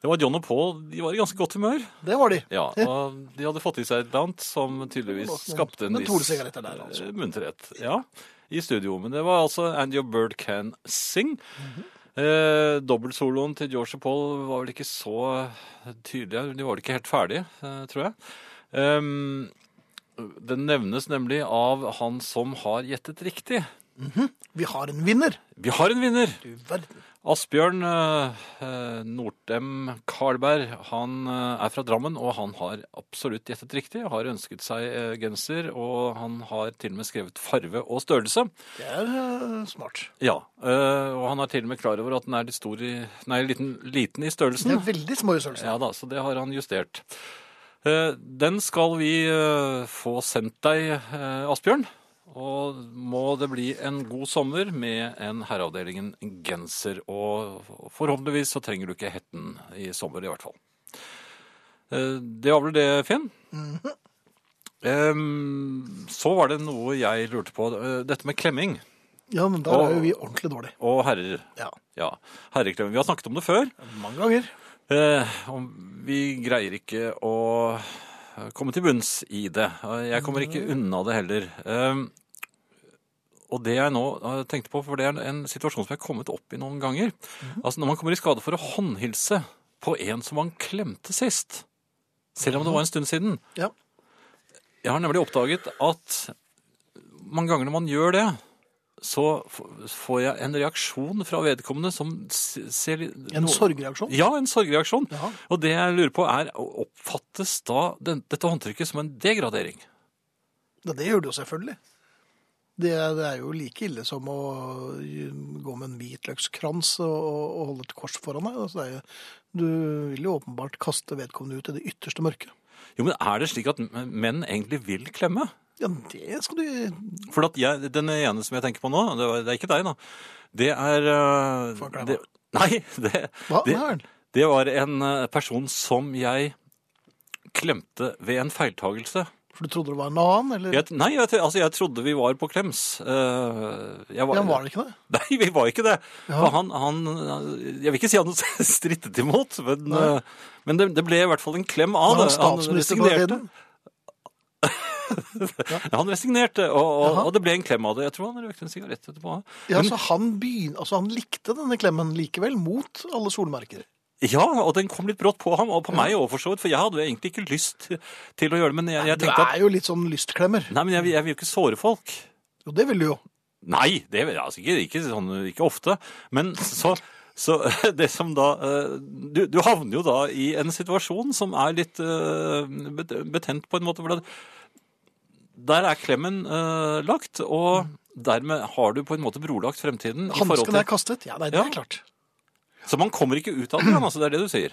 B: Det var John og Paul, de var i ganske godt humør.
A: Det var de.
B: Ja, og De hadde fått i seg et eller annet som tydeligvis
A: Det var noen-
B: skapte en
A: noen
B: viss
A: tornesigaretter der, altså.
B: eh, munterhet. Ja, i studio. Men det var altså And Your Bird Can Sing.
A: Mhm.
B: Eh, Dobbeltsoloen til George og Paul var vel ikke så tydelig. De var vel ikke helt ferdige, eh, tror jeg. Ehm, det nevnes nemlig av han som har gjettet riktig.
A: Vi har en vinner.
B: Vi har en vinner!
A: Du verden.
B: Asbjørn eh, Nordem Karlberg han eh, er fra Drammen, og han har absolutt gjettet riktig. Har ønsket seg eh, genser, og han har til og med skrevet farve og størrelse.
A: Det er eh, smart.
B: Ja, eh, og han er til og med klar over at den er litt stor i, nei, liten, liten i
A: Det
B: størrelsen.
A: er veldig små i størrelsen.
B: Ja da, så det har han justert. Eh, Den skal vi eh, få sendt deg, eh, Asbjørn. Og må det bli en god sommer med en herreavdelingen genser. Og forhåpentligvis så trenger du ikke hetten i sommer, i hvert fall. Eh, Det var vel det, Finn? Em, Så var det noe jeg lurte på. eh, Dette med klemming
A: Ja, men da er jo vi ordentlig dårlige.
B: og herrer.
A: Ja.
B: Ja, herreklemming. Vi har snakket om det før.
A: Mange ganger.
B: Eh, om vi greier ikke å eh, komme til bunns i det. Eh, Jeg kommer ikke unna det heller. Eh, og det jeg nå eh, tenkte på, for det er en- en situasjon som jeg har kommet opp i noen ganger. Altså Når man kommer i skade for å håndhilse på en som man klemte sist, selv om det var en stund siden.
A: Ja.
B: Jeg har nemlig oppdaget at mange ganger når man gjør det, så f- får jeg en reaksjon fra vedkommende som s- ser litt-
A: En
B: noe-
A: sorgreaksjon.
B: ja, en sorgreaksjon.
A: Ja.
B: Og det jeg lurer på er, oppfattes da den, dette håndtrykket som en degradering?
A: Ja, det gjør det jo selvfølgelig. Det, er- det er jo like ille som å um, gå med en hvitløkskrans og, og og holde et kors foran deg. Altså, det er jo, du vil jo åpenbart kaste vedkommende ut i det ytterste mørket.
B: Jo, men er det slik at m- menn egentlig vil klemme?
A: Ja, men det skal du
B: For at jeg, den ene som jeg tenker på nå, det, var, det er ikke deg da, det er... øh,
A: Får klemme.
B: det, nei, det,
A: Hva
B: det,
A: er det?
B: det var en øh, person som jeg klemte ved en feiltagelse.
A: For du trodde det var en annen, eller?
B: Jeg, nei, jeg, altså, jeg trodde vi var på klems. Øh, jeg
A: Ja, var det ikke det?
B: Nei, vi var ikke det.
A: Ja.
B: For han, han Jeg vil ikke si han strittet imot, men,
A: Nei.
B: eh, men det, det ble i hvert fall en klem
A: Var
B: av
A: han
B: det.
A: statsminister på den tiden?
B: Ja, han resignerte, og, og,
A: Jaha.
B: og det ble en klem av det. Jeg tror han røkte en sigarett etterpå.
A: Ja,
B: Men-
A: så han, begyn... altså, han likte denne klemmen likevel, mot alle solmerker.
B: ja, og den kom litt brått på ham, og på meg òg, for så vidt. For jeg hadde jo egentlig ikke lyst til å gjøre det, men jeg, jeg
A: Du
B: tenkte at
A: er jo litt sånn lystklemmer.
B: Nei, men jeg, vil- jeg vil jo ikke såre folk.
A: Jo, det vil du jo.
B: Nei, det vil jeg altså ikke, ikke, sånn, ikke ofte. Men så, så det som da eh, du, du havner jo da i en situasjon som er litt eh, bet- betent på en måte. For det- der er klemmen eh, lagt, og dermed har du på en måte brolagt fremtiden. i forhold
A: Hansken
B: til-
A: er kastet. Ja, nei, det
B: Ja.
A: er klart.
B: Så man kommer ikke ut av det, altså, det er det du sier.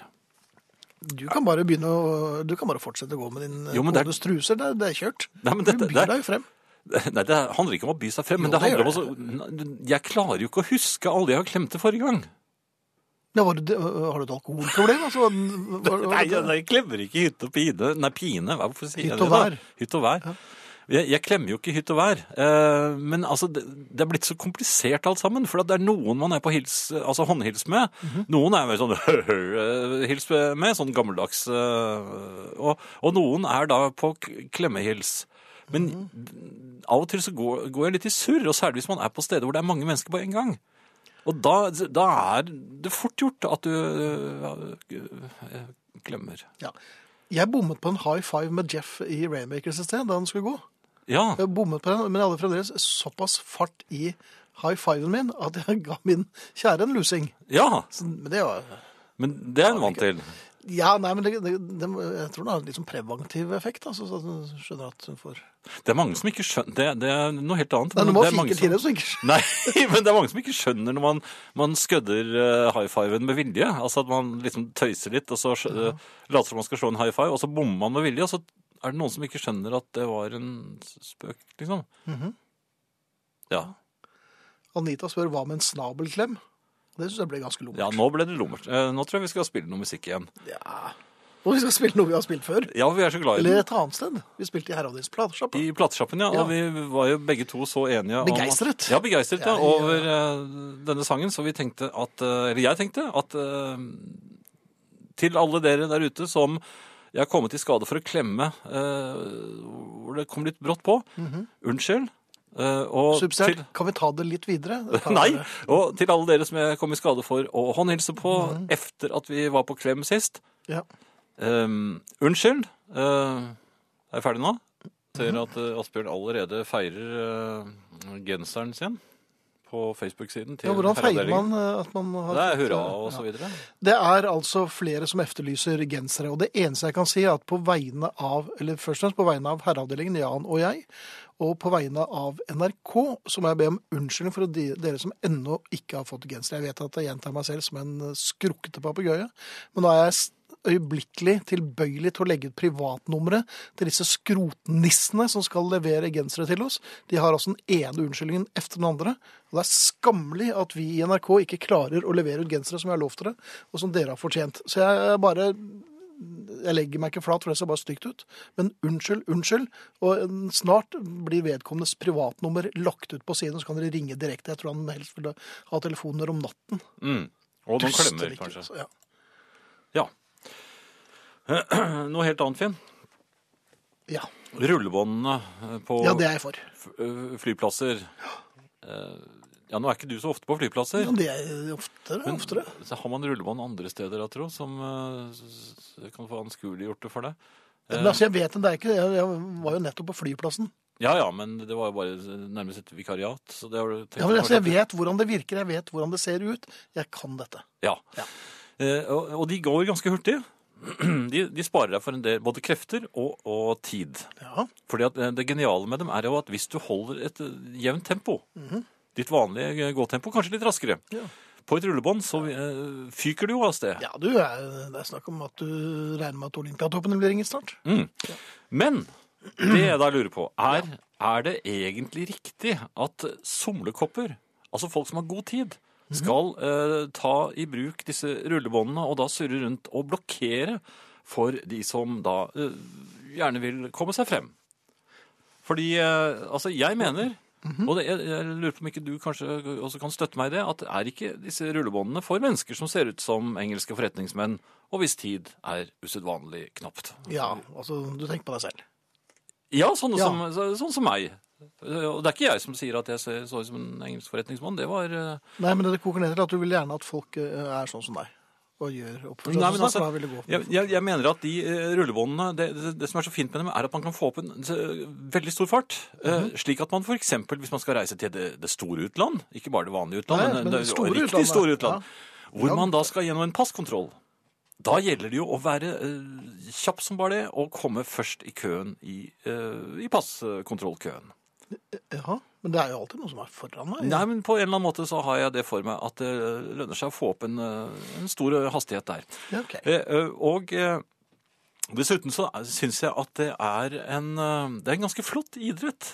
A: Du kan bare begynne å, du kan bare fortsette å gå med din
B: Jo, men det er-
A: kodes truser. Det er, det er kjørt.
B: Nei, men dette-
A: du
B: det er-
A: byr deg jo frem.
B: Nei, Det handler ikke om å by seg frem,
A: Jo,
B: men det
A: det
B: handler om å Jeg klarer jo ikke å huske alle jeg har klemte forrige gang.
A: Ja, var det, har du et alkoholproblem? Altså, var, var,
B: Nei, jeg, jeg klemmer ikke hytt og pine. Nei, pine, hva- hvorfor sier jeg
A: Hytt
B: det
A: og
B: da?
A: vær.
B: Hytt og vær. Jeg, jeg klemmer jo ikke hytt og vær. Eh, men altså, det, det er blitt så komplisert alt sammen, for at det er noen man er på hils, altså håndhils med.
A: Mhm.
B: Noen er mer sånn eh, hils med, sånn gammeldags. eh, og, og noen er da på k- klemmehils. Men
A: Mhm.
B: av og til så går, går jeg litt i surr, og særlig hvis man er på steder hvor det er mange mennesker på en gang. Og da, da er det fort gjort at du eh, eh, glemmer.
A: ja. Jeg bommet på en high five med Jeff i Rainmakers et sted da han skulle gå.
B: Ja,
A: Jeg bommet på den, Men jeg hadde fremdeles såpass fart i high fiven min at jeg ga min kjære en lusing.
B: ja,
A: Så, men det var
B: men det er en vant til.
A: Ja, nei, men det, det, det, jeg tror det har en litt sånn preventiv effekt. Altså, så at hun skjønner at hun får
B: Det er mange som ikke skjønner Det, det er noe helt annet.
A: Nei,
B: men
A: nå må
B: det er mange
A: fike
B: som-
A: til det, så ikke
B: Nei, men det er mange som ikke skjønner når man, man skødder eh, high fiven med vilje. Altså at man liksom tøyser litt, og så uh, later som man skal slå en high five, og så bommer man med vilje, og så er det noen som ikke skjønner at det var en spøk, liksom.
A: Mhm.
B: Ja.
A: Anita spør hva med en snabelklem? Det syns jeg ble ganske
B: ja,
A: lummert.
B: nå ble det lummert. Eh, nå tror jeg vi skal spille noe musikk igjen.
A: Og vi skal spille noe vi har spilt før.
B: Ja, vi er så glad i
A: Eller
B: den.
A: et annet sted. Vi spilte i Herreavdelingens platesjappe.
B: I platesjappen, ja. Og
A: Ja.
B: vi var jo begge to så enige om at-
A: Begeistret.
B: Ja, begeistret, ja,
A: Jeg,
B: over eh, denne sangen. Så vi tenkte at eh, Eller jeg tenkte at eh, til alle dere der ute som jeg har kommet i skade for å klemme eh, hvor det kom litt brått på. Unnskyld. eh, og
A: Subsidiært.
B: til
A: Mhm. Kan vi ta det litt videre? Dette er-
B: Nei! Og til alle dere som jeg kom i skade for å håndhilse på
A: Mm.
B: efter at vi var på klem sist.
A: Ja.
B: Ehm, Eh, unnskyld. eh, Er jeg ferdig nå?
A: Mhm.
B: Ser at eh, Asbjørn allerede feirer eh, genseren sin på Facebook-siden til
A: Ja, hvordan feirer
B: Herreavdelingen.
A: man eh, at man har
B: Det er
A: fått,
B: hurra
A: eh,
B: og
A: ja.
B: så videre.
A: Det er altså flere som efterlyser gensere, og det eneste jeg kan si er at på vegne av, eller først og fremst på vegne av herreavdelingen, Jan og jeg, og på vegne av NRK, så må jeg be om unnskyldning for de, dere som ennå ikke har fått genser. Jeg vet at jeg gjentar meg selv som en eh, skrukkete papegøye, men nå er jeg s- øyeblikkelig tilbøyelig til å legge ut privatnummeret til disse skrotnissene som skal levere gensere til oss. De har altså den ene unnskyldningen efter den andre. Og det er skammelig at vi i NRK ikke klarer å levere ut gensere som vi har lovt dere, og som dere har fortjent. Så jeg bare jeg legger meg ikke flat, for det ser bare stygt ut. Men unnskyld, unnskyld. Og eh, snart blir vedkommendes privatnummer lagt ut på siden, så kan dere ringe direkte. Jeg tror han helst ville ha telefoner om natten.
B: Mm. Og noen
A: Duster
B: klemmer,
A: ikke,
B: kanskje.
A: altså, Ja.
B: Ja. Noe helt annet, Finn.
A: Ja.
B: Rullebåndene eh, på
A: ja, det er jeg for.
B: f- øh, flyplasser. Eh, Ja, nå er ikke du så ofte på flyplasser.
A: Ja, det er oftere,
B: Men
A: oftere.
B: så har man rullebånd andre steder, jeg tror, som eh, s- s- kan få anskueliggjort det for deg. Eh,
A: Men altså, jeg vet det er ikke Jeg jeg var jo nettopp på flyplassen.
B: Ja ja, men det var jo bare nærmest et vikariat. Så det har du tenkt
A: Ja, men
B: på
A: altså, Jeg
B: kanskje-
A: vet hvordan det virker, jeg vet hvordan det ser ut. Jeg kan dette.
B: Ja. Eh, og, og de går ganske hurtig. De, de sparer deg for en del både krefter og, og tid.
A: Ja,
B: Fordi at eh, det geniale med dem er jo at hvis du holder et eh, jevnt tempo, ditt vanlige eh, gåtempo, kanskje litt raskere,
A: Mhm. Ja.
B: på et rullebånd, så eh, fyker du jo av sted.
A: ja du, er, Det er snakk om at du regner med at Olympiatoppen blir ringt snart.
B: Mm. Men det jeg da lurer på, er er det egentlig riktig at somlekopper, altså folk som har god tid, skal eh, ta i bruk disse rullebåndene og da surre rundt og blokkere for de som da eh, gjerne vil komme seg frem? Fordi eh, altså, jeg mener Og det, jeg, jeg lurer på om ikke du kanskje også kan støtte meg i det. At er ikke disse rullebåndene for mennesker som ser ut som engelske forretningsmenn, og hvis tid er usedvanlig knapt?
A: Ja, altså, du tenker på deg selv.
B: Ja, sånne
A: Ja.
B: Som, så- sånn som meg. Eh, Og det er ikke jeg som sier at jeg ser, så ut som en engelsk forretningsmann. Det var eh,
A: Nei, men det koker ned til at du vil gjerne at folk eh, er sånn som deg. Og gjør oppførsel
B: Nei,
A: sånn
B: men
A: som deg,
B: altså,
A: for da vil det gå.
B: jeg, jeg, jeg mener at de eh, rullebåndene det, det, det som er så fint med dem, er at man kan få opp en eh, veldig stor fart. eh, Slik at man f.eks. hvis man skal reise til det, det store utland, ikke bare det vanlige utland,
A: Nei,
B: men,
A: men
B: det,
A: det store
B: riktig
A: utlandet,
B: store utland, hvor
A: Ja.
B: man da skal gjennom en passkontroll. Da gjelder det jo å være eh, kjapp som bare det, og komme først i køen i, eh, i passkontrollkøen.
A: Ja, men det er jo alltid noen som er foran meg.
B: Nei, men på en eller annen måte så har jeg det for meg at det lønner seg å få opp en, eh, en stor hastighet der.
A: Ja, ok.
B: Eh, eh, Og eh, dessuten så syns jeg at det er en, eh, det er en ganske flott idrett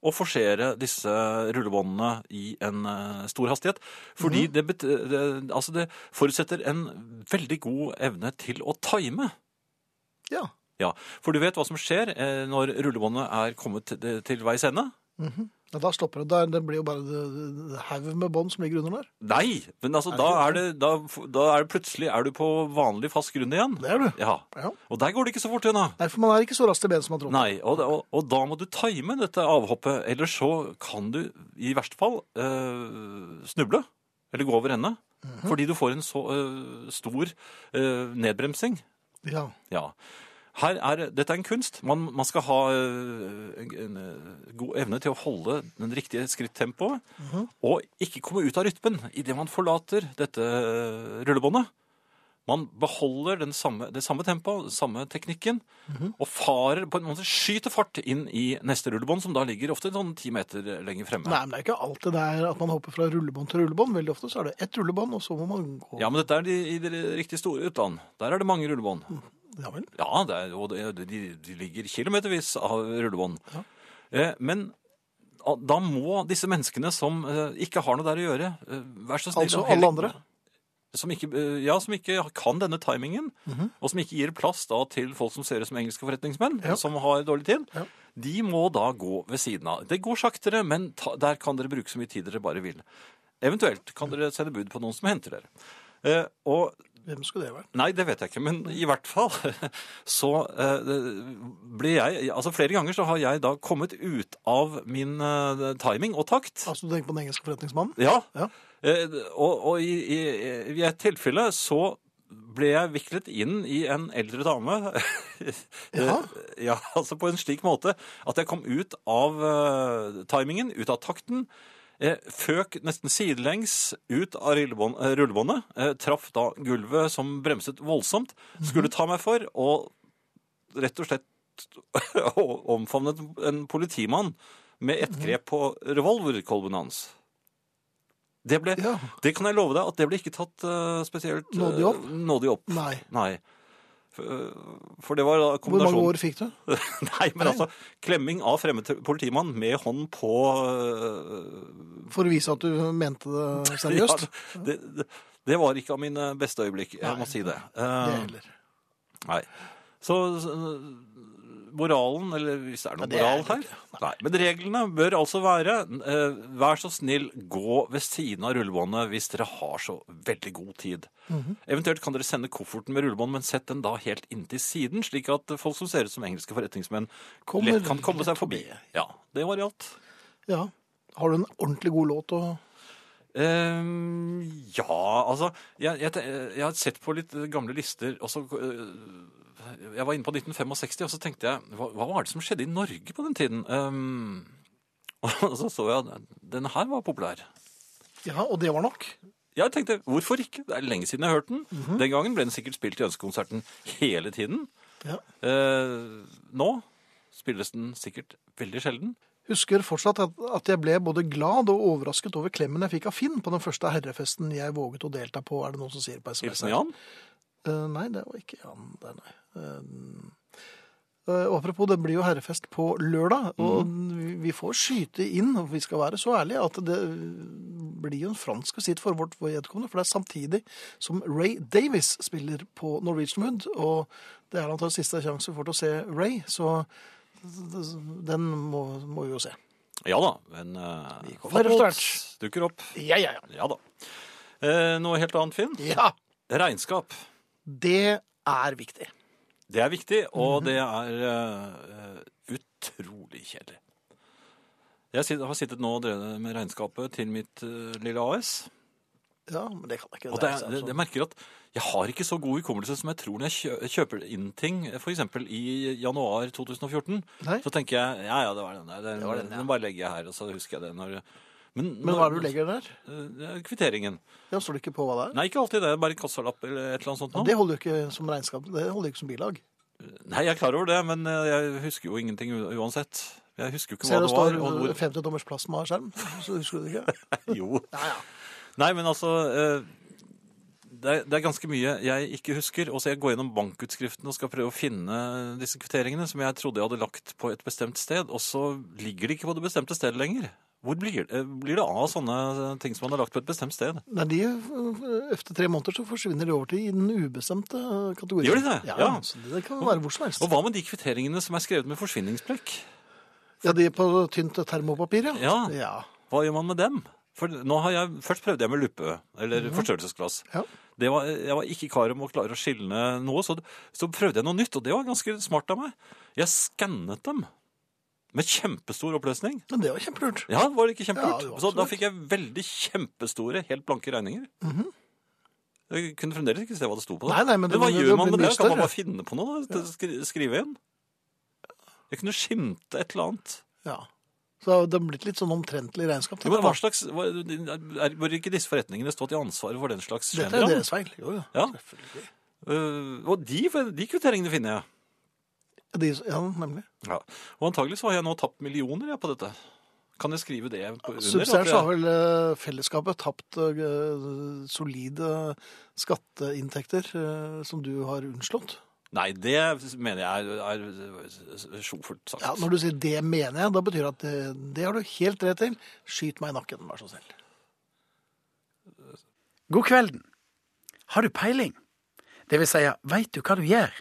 B: å forsere disse rullebåndene i en eh, stor hastighet. Fordi det, bet det, altså det forutsetter en veldig god evne til å time.
A: Ja.
B: Ja, For du vet hva som skjer eh, når rullebåndet er kommet til, til veis ende?
A: ja, da stopper det. Da- Det blir jo bare en haug med bånd som ligger under der.
B: Nei, men altså,
A: Er det
B: da,
A: ikke
B: er det, da, da er det plutselig er du på vanlig fast grunn igjen.
A: Det er du.
B: Ja,
A: Ja.
B: Og der går det ikke så fort unna.
A: Nei, for man er ikke så raskt i ben som man tror.
B: Nei, og, og, og da må du time dette avhoppet, ellers så kan du i verste fall eh, snuble, eller gå over ende,
A: Mhm.
B: fordi du får en så eh, stor eh, nedbremsing.
A: Ja.
B: Ja. Her er, dette er en kunst. Man, man skal ha eh, en, en eh, god evne til å holde den riktige skrittempoet, og ikke komme ut av rytmen idet man forlater dette eh, rullebåndet. Man beholder den samme, det samme tempoet, samme teknikken, og farer på en måte skyter fart inn i neste rullebånd, som da ligger ofte sånn ti meter lenger fremme.
A: Nei, men det er ikke alltid det er at man hopper fra rullebånd til rullebånd. Veldig ofte så er det ett rullebånd, og så må man gå.
B: Ja, men dette er de, i det riktig store utland. Der er det mange rullebånd.
A: Ja vel.
B: Ja, det er, og det- de, de ligger kilometervis av rullebånd. Eh, men ah, da må disse menneskene som eh, ikke har noe der å gjøre, eh, vær så snill
A: Altså
B: og heller-
A: alle andre?
B: Som ikke, eh, ja, som ikke kan denne timingen,
A: Mhm.
B: og som ikke gir plass da til folk som ser ut som engelske forretningsmenn,
A: Ja.
B: som har dårlig tid.
A: Ja.
B: De må da gå ved siden av. Det går saktere, men ta, der kan dere bruke så mye tid dere bare vil. Eventuelt kan dere sende bud på noen som henter dere. Eh, og
A: Hvem skulle det vært?
B: Nei, det vet jeg ikke, men i hvert fall så eh, ble jeg Altså flere ganger så har jeg da kommet ut av min eh, timing og takt.
A: Altså, du
B: Eh,
A: tenker på den engelske forretningsmannen?
B: Ja.
A: Ja.
B: Eh, og og i, i, i et tilfelle så ble jeg viklet inn i en eldre dame.
A: Ja.
B: ja, altså på en slik måte at jeg kom ut av eh, timingen, ut av takten. eh, føk nesten sidelengs ut av rullebånd, eh, rullebåndet. eh, traff da gulvet som bremset voldsomt. Skulle ta meg for og rett og slett omfavnet en politimann med
A: Mhm.
B: ett grep på revolverkolben hans. Det ble
A: Ja.
B: det kan jeg love deg at det ble ikke tatt eh, spesielt eh,
A: Nådig opp?
B: nådig opp.
A: Nei.
B: Nei. For, eh, for det var da
A: Hvor mange
B: kombinasjonen
A: år fikk du?
B: Nei, men altså klemming av fremmed politimann med hånd på eh,
A: For å vise at du mente det seriøst?
B: Ja, det, det, det var ikke av mine beste øyeblikk, jeg
A: Nei.
B: må si det. Eh,
A: Det heller.
B: Nei. Så eh, moralen, eller hvis det er noen
A: det er
B: moral
A: det
B: her Nei, Men reglene bør altså være eh, vær så snill, gå ved siden av rullebåndet hvis dere har så veldig god tid.
A: Mhm.
B: Eventuelt kan dere sende kofferten med rullebånd, men sett den da helt inntil siden, slik at folk som ser ut som engelske forretningsmenn,
A: Kommer
B: lett kan komme
A: lett
B: seg forbi.
A: forbi.
B: Ja, det var alt.
A: Ja. Har du en ordentlig god låt å
B: Ehm, ja, altså jeg, jeg, te- jeg har sett på litt gamle lister og så, øh, Jeg var inne på 1965, og så tenkte jeg hva, hva var det som skjedde i Norge på den tiden? Ehm, og så så jeg at denne her var populær.
A: Ja, og det var nok?
B: Jeg tenkte hvorfor ikke? Det er lenge siden jeg har hørt den. Den gangen ble den sikkert spilt i Ønskekonserten hele tiden.
A: Ja.
B: Eh, nå spilles den sikkert veldig sjelden.
A: Husker fortsatt at, at jeg ble både glad og overrasket over klemmen jeg fikk av Finn på den første herrefesten jeg våget å delta på, er det noen som sier på SMS.
B: Hilsen
A: her?
B: Jan.
A: Eh, nei, det var ikke Jan. Det, nei. Eh, eh, og apropos, det blir jo herrefest på lørdag, og
B: Mhm.
A: vi- vi får skyte inn, og vi skal være så ærlige, at det blir jo en fransk visitt for vårt vedkommende, for det er samtidig som Ray Davis spiller på Norwegian Wood, og det er antakelig siste sjanse vi får til å se Ray, så den må, må vi jo se.
B: Ja da, men uh,
A: kommer etter
B: dukker opp.
A: Ja, ja, ja.
B: Ja da. Eh, noe helt annet, Finn.
A: Ja,
B: Regnskap.
A: det er viktig.
B: Det er viktig,
A: Mhm.
B: og det er eh, utrolig kjedelig. Jeg sit- har sittet nå og drevet med regnskapet til mitt eh, lille AS.
A: Ja, men det kan jeg ikke. altså.
B: Og det, er- det, det merker at jeg har ikke så god hukommelse som jeg tror når jeg kjø- kjøper inn ting. F.eks. i januar 2014.
A: Nei.
B: Så tenker jeg ja, ja, det var den der. Den,
A: var den, ja.
B: den bare legger jeg her, og så husker jeg det når Men,
A: Men hva er det du legger der?
B: legger? Kvitteringen.
A: Ja, står det ikke på hva det er?
B: Nei, ikke alltid det. Bare kassalapp eller et eller annet sånt. nå.
A: Det holder jo ikke som regnskap, det holder jo ikke som bilag.
B: Nei, jeg er klar over det, men eh, jeg husker jo ingenting u- uansett. Jeg husker jo ikke
A: Ser du
B: hva
A: det
B: det var.
A: står
B: og hvor-
A: 50 tommers plasma skjerm, så husker du det ikke?
B: Jo. Nei, men altså eh, det er, det er ganske mye jeg ikke husker. Og så jeg går gjennom bankutskriftene og skal prøve å finne disse kvitteringene som jeg trodde jeg hadde lagt på et bestemt sted, og så ligger de ikke på det bestemte stedet lenger. Hvor blir, eh, blir det av sånne eh, ting som man har lagt på et bestemt sted?
A: Nei, de, øh, efter tre måneder så forsvinner de over til i den ubestemte øh, kategorien.
B: Gjør de det?
A: Ja,
B: Ja.
A: Så det kan være hvor som helst.
B: Og hva med de kvitteringene som er skrevet med forsvinningsblekk?
A: Ja, de er på tynt termopapir, ja.
B: Ja.
A: ja.
B: Hva gjør man med dem? For nå har jeg, Først prøvde jeg med luppe, eller forstørrelsesglass.
A: Ja.
B: Det var, jeg var ikke kar om å klare å skille noe, så, så prøvde jeg noe nytt, og det var ganske smart av meg. Jeg skannet dem med kjempestor oppløsning.
A: Men det var kjempelurt.
B: Ja, var det ikke kjempelurt?
A: Ja, jo,
B: så
A: absolutt.
B: da
A: Mhm.
B: fikk jeg veldig kjempestore, helt blanke regninger. Jeg kunne fremdeles ikke se hva det sto på. det.
A: Nei, nei, men det-
B: hva
A: det-
B: gjør
A: det
B: man
A: blir
B: med
A: mye
B: det? Kan man
A: større.
B: bare finne på noe? da? Skri- Skrive igjen? Jeg kunne skimte et eller annet.
A: Ja. Så det har blitt litt sånn omtrentlig regnskap.
B: Jo, men hva slags, hva, er, bør ikke disse forretningene stå til ansvar for den slags
A: Dette er jo
B: skjønner?
A: deres feil. Jo, jo.
B: Ja.
A: Selvfølgelig.
B: Uh, og de, de kvitteringene finner jeg.
A: De, ja, nemlig.
B: Ja. Og antagelig så har jeg nå tapt millioner jeg, på dette. Kan jeg skrive det på under?
A: Subsidiært så
B: at jeg-
A: har vel eh, fellesskapet tapt eh, solide skatteinntekter eh, som du har unnslått.
B: Nei, det mener jeg er, er sjofelt sagt.
A: Ja, Når du sier 'det mener jeg', da betyr det at det, det har du helt rett til. Skyt meg i nakken, vær så snill.
F: God kvelden. Har du peiling? Det vil si, veit du hva du gjør?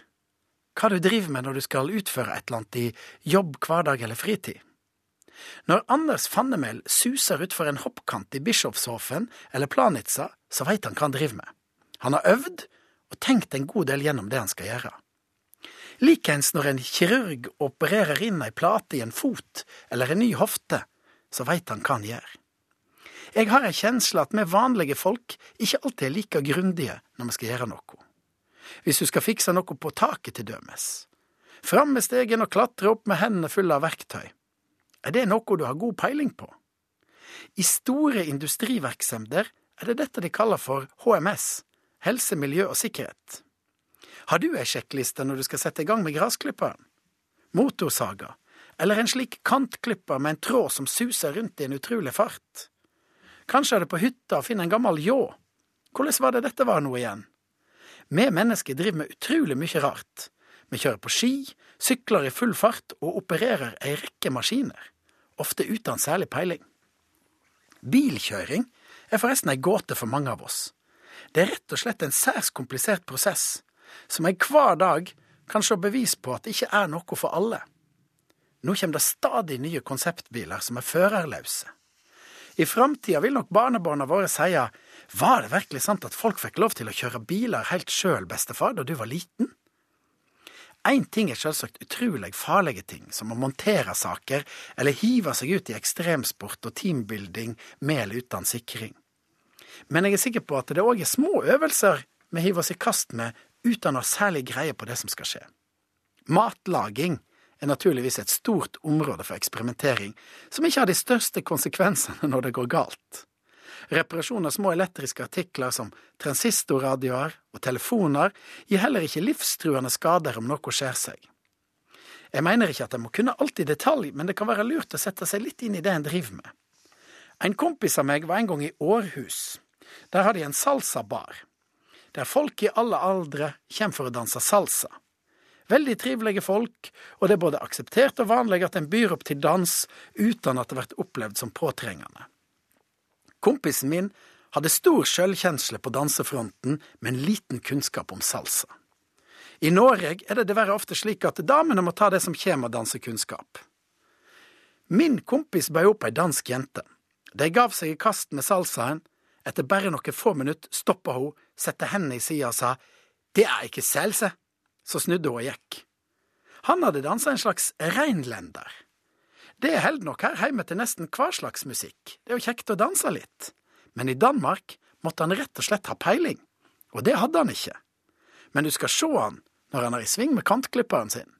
F: Hva du driver med når du skal utføre et eller annet i jobb, hverdag eller fritid? Når Anders Fannemel suser utfor en hoppkant i Bischofshofen eller Planica, så veit han hva han driver med. Han har øvd og tenkt en god del gjennom det han skal gjøre. Likeens når en kirurg opererer inn ei plate i en fot eller en ny hofte, så veit han hva han gjør. Jeg har en kjensle at vi vanlige folk ikke alltid er like grundige når vi skal gjøre noe. hvis du skal fikse noe på taket til dømes. Fram med stegen og klatre opp med hendene fulle av verktøy. Er det noe du har god peiling på? I store industrivirksomheter er det dette de kaller for HMS, helse, miljø og sikkerhet. Har du ei sjekkliste når du skal sette i gang med grasklipperen? Motorsaga? Eller en slik kantklipper med en tråd som suser rundt i en utrolig fart? Kanskje er det på hytta og finner en gammel ljå? Hvordan var det dette var nå igjen? Vi mennesker driver med utrolig mye rart. Vi kjører på ski, sykler i full fart og opererer ei rekke maskiner, ofte uten særlig peiling. Bilkjøring er forresten ei gåte for mange av oss. Det er rett og slett en særs komplisert prosess, som en hver dag kan se bevis på at det ikke er noe for alle. Nå kommer det stadig nye konseptbiler som er førerløse. I framtida vil nok barnebarna våre sie var det virkelig sant at folk fikk lov til å kjøre biler helt sjøl, bestefar, da du var liten? Én ting er selvsagt utrolig farlige ting, som å montere saker eller hive seg ut i ekstremsport og teambuilding med eller uten sikring. Men jeg er sikker på at det òg er små øvelser vi hiver oss i kast med uten å ha særlig greie på det som skal skje. Matlaging er naturligvis et stort område for eksperimentering, som ikke har de største konsekvensene når det går galt. Reparasjon av små elektriske artikler som transistorradioer og telefoner gir heller ikke livstruende skader om noe skjer seg. Jeg mener ikke at en må kunne alt i detalj, men det kan være lurt å sette seg litt inn i det en driver med. En kompis av meg var en gang i Århus. Der har de en salsabar, der folk i alle aldre kommer for å danse salsa. Veldig trivelige folk, og det er både akseptert og vanlig at en byr opp til dans uten at det blir opplevd som påtrengende. Kompisen min hadde stor sjølkjensle på dansefronten, men liten kunnskap om salsa. I Norge er det dessverre ofte slik at damene må ta det som kommer av dansekunnskap. Min kompis bød opp ei dansk jente. De gav seg i kast med salsaen. Etter bare noen få minutt stoppa hun, satte hendene i sida og sa det er ikke salsa. Så snudde hun og gikk. Han hadde dansa en slags reinlender. Det holder nok her hjemme til nesten hver slags musikk, det er jo kjekt å danse litt. Men i Danmark måtte han rett og slett ha peiling, og det hadde han ikke. Men du skal se han når han er i sving med kantklipperen sin.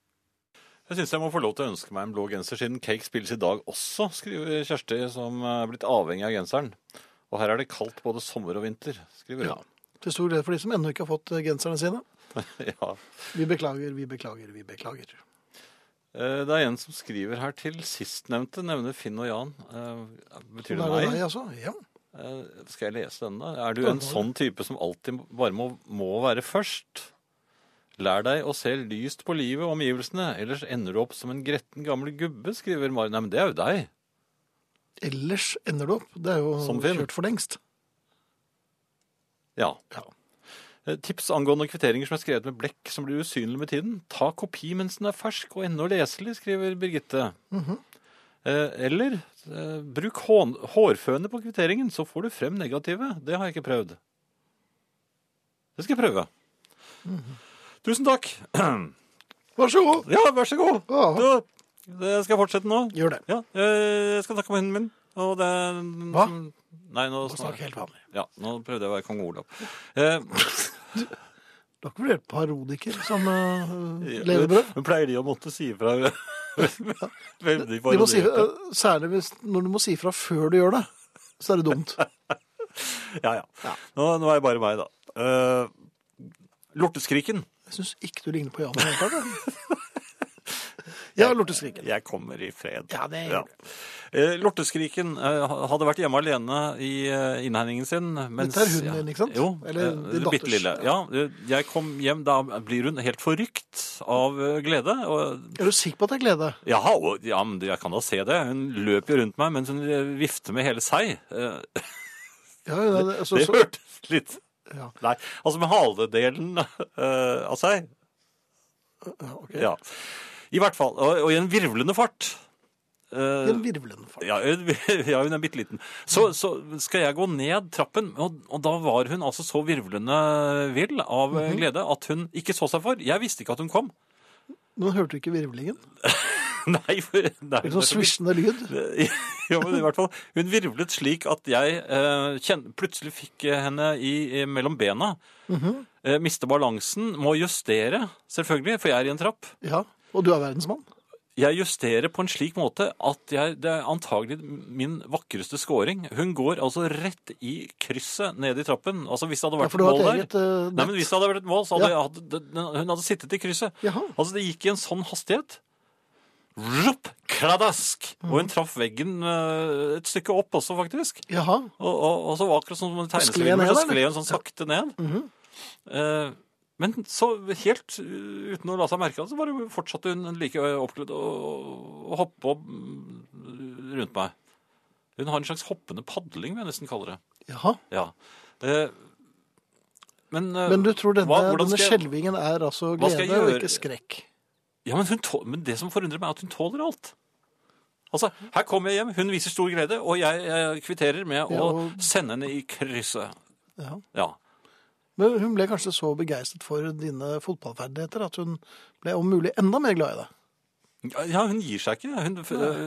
B: Jeg syns jeg må få lov til å ønske meg en blå genser, siden cake spilles i dag også, skriver Kjersti, som er blitt avhengig av genseren. Og her er det kaldt både sommer og vinter, skriver hun.
A: Til stor glede for de som ennå ikke har fått eh, genserne sine.
B: ja.
A: Vi beklager, vi beklager, vi beklager.
B: Eh, Det er en som skriver her til sistnevnte, nevner Finn og Jan. Eh, Betyr det
A: Da er
B: nei?
A: deg, altså. Ja.
B: Eh, Skal jeg lese denne? Er du en sånn type som alltid bare må, må være først? Lær deg å se lyst på livet og omgivelsene, ellers ender du opp som en gretten gammel gubbe, skriver Mari. Nei, men det er jo deg.
A: Ellers ender du opp. Det er jo
B: Som Finn.
A: kjørt for lengst.
B: Ja. Eh, Tips angående kvitteringer som er skrevet med blekk som blir usynlig med tiden. Ta kopi mens den er fersk og ennå leselig, skriver Birgitte. Eh, Eller eh, bruk hån- hårføne på kvitteringen, så får du frem negative. Det har jeg ikke prøvd. Det skal jeg prøve. Tusen takk.
A: Vær så god!
B: Ja, vær så god.
A: Ja.
B: Du, det skal jeg fortsette nå.
A: Gjør det.
B: Ja, eh, jeg skal snakke om hunden min. Og det er en
A: Hva?
B: som- Nei, nå
A: Snakk helt vanlig.
B: Ja, nå prøvde jeg å være kong Olav. Eh,
A: Du har ikke vurdert parodiker som uh,
B: Ja,
A: levebrød?
B: Men pleier de å måtte si fra hvem de
A: De må si,
B: parodierer?
A: eh, særlig hvis, når du må si fra før du gjør det, så er det dumt.
B: Ja, ja. Nå, nå er det bare meg, da. Eh, lorteskriken.
A: Jeg syns ikke du ligner på Jan. i det hele tatt, Jeg Ja, lorteskriken.
B: Jeg kommer i fred.
A: Ja, det
B: Ja.
A: gjør du.
B: Eh, Lorteskriken eh, hadde vært hjemme alene i eh, innhegningen sin. Mens,
A: Dette er hunden din, ikke sant?
B: Jo,
A: Eller
B: eh,
A: din
B: det bitte
A: datters.
B: lille. Ja, eh, jeg kom hjem, da blir hun helt forrykt av eh, glede. Og,
A: Er du sikker på at det er glede?
B: ja, og, ja, men jeg kan da se det. Hun løp jo rundt meg mens hun eh, vifter med hele seg. Eh,
A: Ja, ja, det, altså,
B: Det
A: så,
B: hørtes litt
A: Ja.
B: Nei, altså med halvedelen eh, av seg.
A: ja, ok.
B: Ja. I hvert fall. Og, og i en virvlende fart. Eh,
A: Det er en virvlende fart.
B: Ja, ja, hun er bitte liten. Så, så skal jeg gå ned trappen, og, og da var hun altså så virvlende vill av eh,
A: Mhm.
B: glede at hun ikke så seg for. Jeg visste ikke at hun kom.
A: Nå hørte du ikke virvlingen?
B: Nei, for nei,
A: Eller sånn svisjende lyd?
B: ja, men i hvert fall, Hun virvlet
A: Mhm.
B: slik at jeg eh, kjen, plutselig fikk eh, henne i, i, mellom bena. eh, mister balansen, må justere, selvfølgelig, for jeg er i en trapp.
A: Ja, og du er verdensmann.
B: Jeg justerer på en slik måte at jeg, det er antagelig min vakreste scoring. Hun går altså rett i krysset nede i trappen. Altså Hvis det hadde
A: Ja,
B: vært
A: for du har
B: mål
A: et
B: der
A: eget eh,
B: Nei, men
A: nett.
B: Hvis det hadde vært et mål, så hadde
A: Ja.
B: jeg hatt- den- hun hadde sittet i krysset.
A: Jaha.
B: Altså, det gikk i en sånn hastighet. Rupp, kradask! Og hun traff veggen eh, et stykke opp også, faktisk.
A: Jaha.
B: Og, og, og så var det akkurat sånn som en
A: skled
B: tegneserie,
A: ned,
B: så
A: eller? Mhm.
B: skled hun sånn sakte ned. Eh, men så helt eh, uten å la seg merke av det, så bare fortsatte hun like oppkledd å å hoppe opp mm, rundt meg. Hun har en slags hoppende padling, vil jeg nesten kalle det.
A: Jaha.
B: Ja. Eh, men, eh,
A: Men du tror denne,
B: hva- hvordan
A: denne
B: skal jeg-
A: skjelvingen er altså
B: Hva skal jeg
A: glede og
B: gjøre?
A: ikke skrekk?
B: Ja, men, hun tå- men det som forundrer meg, er at hun tåler alt. Altså, Her kommer jeg hjem, hun viser stor glede, og jeg, eh, kvitterer med
A: Ja,
B: å
A: og-
B: sende henne i krysset.
A: Ja.
B: Ja.
A: Men hun ble kanskje så begeistret for dine fotballferdigheter at hun ble om mulig enda mer glad i deg.
B: Ja, hun gir seg ikke. Hun,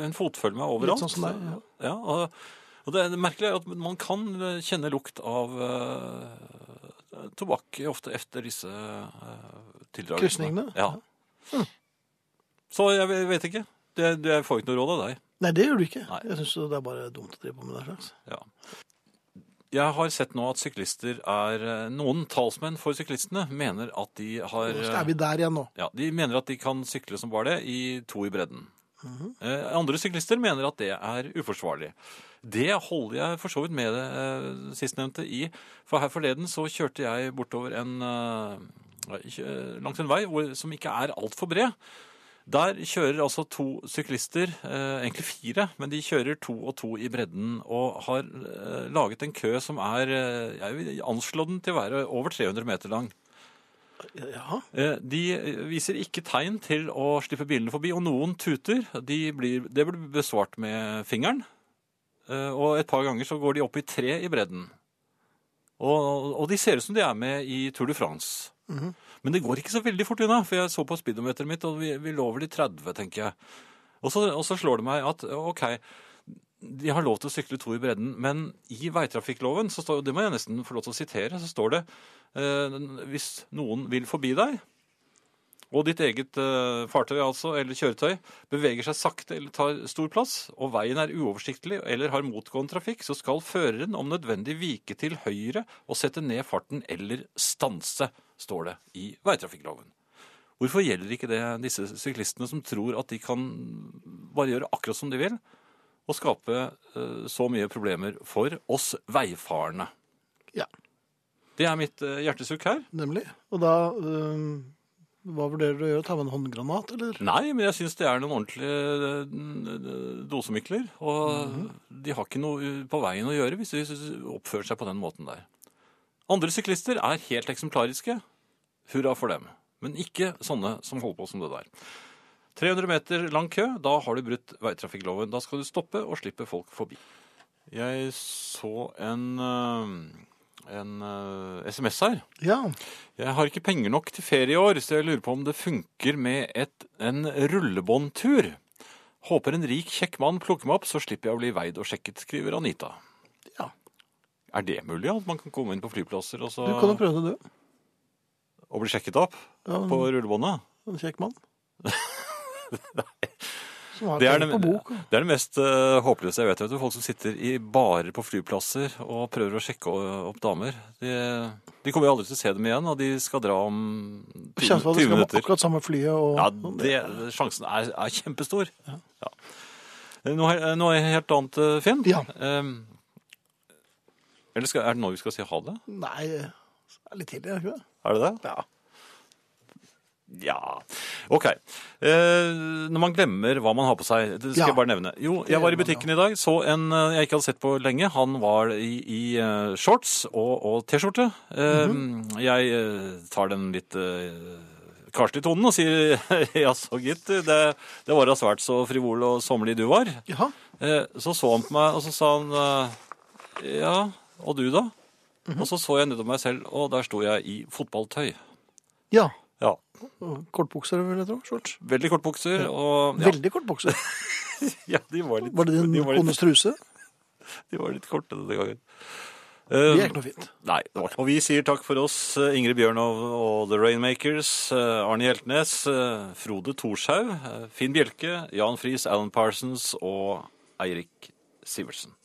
B: hun fotfølger meg
A: Litt
B: overalt.
A: sånn som deg, ja.
B: Ja, og, og det, det merkelige er at man kan kjenne lukt av eh, tobakk ofte etter disse eh, tildragelsene.
A: Krysningene?
B: Ja.
A: Hm.
B: Så jeg ve- vet ikke. Det, det, jeg får ikke noe råd av deg.
A: Nei, det gjør du ikke.
B: Nei.
A: Jeg syns det er bare dumt å drive på med altså. den slags.
B: Ja. Jeg har sett nå at syklister er eh, Noen talsmenn for syklistene mener at de har
A: Så er vi der igjen nå.
B: Ja, De mener at de kan sykle som bare det, i to i bredden. Eh, Andre syklister mener at det er uforsvarlig. Det holder jeg for så vidt med eh, sistnevnte i. For her forleden så kjørte jeg bortover en eh, kjø- langs en vei hvor, som ikke er altfor bred. Der kjører altså to syklister, eh, egentlig fire, men de kjører to og to i bredden og har eh, laget en kø som er eh, Jeg vil anslå den til å være over 300 meter lang.
A: Ja.
B: Eh, De viser ikke tegn til å slippe bilene forbi, og noen tuter. De blir, det blir besvart med fingeren. Eh, Og et par ganger så går de opp i tre i bredden. Og, og de ser ut som de er med i Tour de France. Men det går ikke så veldig fort unna, for jeg så på speedometeret mitt, og vi, vi lå over de 30, tenker jeg. Og så, og så slår det meg at OK, de har lov til å sykle to i bredden, men i veitrafikkloven, så står, og det må jeg nesten få lov til å sitere, så står det eh, hvis noen vil forbi deg, og ditt eget eh, fartøy altså, eller kjøretøy beveger seg sakte eller tar stor plass, og veien er uoversiktlig eller har motgående trafikk, så skal føreren om nødvendig vike til høyre og sette ned farten eller stanse, står det i veitrafikkloven. Hvorfor gjelder ikke det disse syklistene som tror at de kan bare gjøre akkurat som de vil, og skape eh, så mye problemer for oss veifarende?
A: Ja.
B: Det er mitt eh, hjertesukk her.
A: Nemlig. Og da øhm, Hva vurderer du å gjøre? Ta med en håndgranat, eller?
B: Nei, men jeg syns det er noen ordentlige eh, dosemykler. Og de har ikke noe eh, på veien å gjøre hvis de oppfører seg på den måten der. Andre syklister er helt eksemplariske. Hurra for dem. Men ikke sånne som holder på som det der. 300 meter lang kø, da har du brutt veitrafikkloven. Da skal du stoppe og slippe folk forbi. Jeg så en, eh, en eh, SMS her.
A: Ja.
B: Jeg har ikke penger nok til ferie i år, så jeg lurer på om det funker med et, en rullebåndtur. Håper en rik, kjekk mann plukker meg opp, så slipper jeg å bli veid og sjekket, skriver Anita.
A: Ja.
B: Er det mulig at man kan komme inn på flyplasser og, så,
A: Du kan jo prøve det, du.
B: og bli sjekket opp
A: Ja,
B: på rullebåndet?
A: En kjekk mann. Som har
B: Det er
A: penger
B: det-
A: på bok.
B: Det er det mest eh, håpløse jeg vet. vet du. Folk som sitter i barer på flyplasser og prøver å sjekke o- opp damer. De, de kommer jo aldri til å se dem igjen, og de skal dra om 20,
A: Og Kjennes som at du
B: 20
A: skal med
B: minutter.
A: akkurat samme flyet og
B: Ja, det, sjansen er, er kjempestor. Ja. Eh, Noe, he- noe helt annet, eh, Finn?
A: Ja.
B: Ehm, eller skal, er det nå vi skal si ha det?
A: Nei, det er litt tidlig, er det ikke det?
B: Er det det?
A: Ja.
B: Ja. OK. Eh, når man glemmer hva man har på seg, det
A: Ja.
B: skal jeg bare nevne. Jo, jeg var i butikken i dag, så en eh, jeg ikke hadde sett på lenge. Han var i, i eh, shorts og, og T-skjorte. Eh, Jeg eh, tar den litt eh, karslige tonen og sier jaså, gitt. Det, det var da svært så frivol og sommerlig du var.
A: Jaha.
B: Eh, Så så han på meg, og så sa han eh, Ja, og du, da?
A: Mhm.
B: Og så så jeg nedover meg selv, og der sto jeg i fotballtøy.
A: Ja.
B: Ja,
A: og Kortbukser, vil jeg tro. Shorts.
B: Veldig kortbukser, og ja,
A: Veldig kortbukser.
B: ja, de, var litt,
A: Var det din
B: de, var litt,
A: kones truse?
B: de var litt korte denne gangen. Eh,
A: Det er ikke noe fint.
B: Nei, det var ikke. Og vi sier takk for oss, eh, Ingrid Bjørnov og The Rainmakers, eh, Arne Hjeltnes, eh, Frode Thorshaug, eh, Finn Bjelke, Jan Friis, Alan Parsons og Eirik Sivertsen.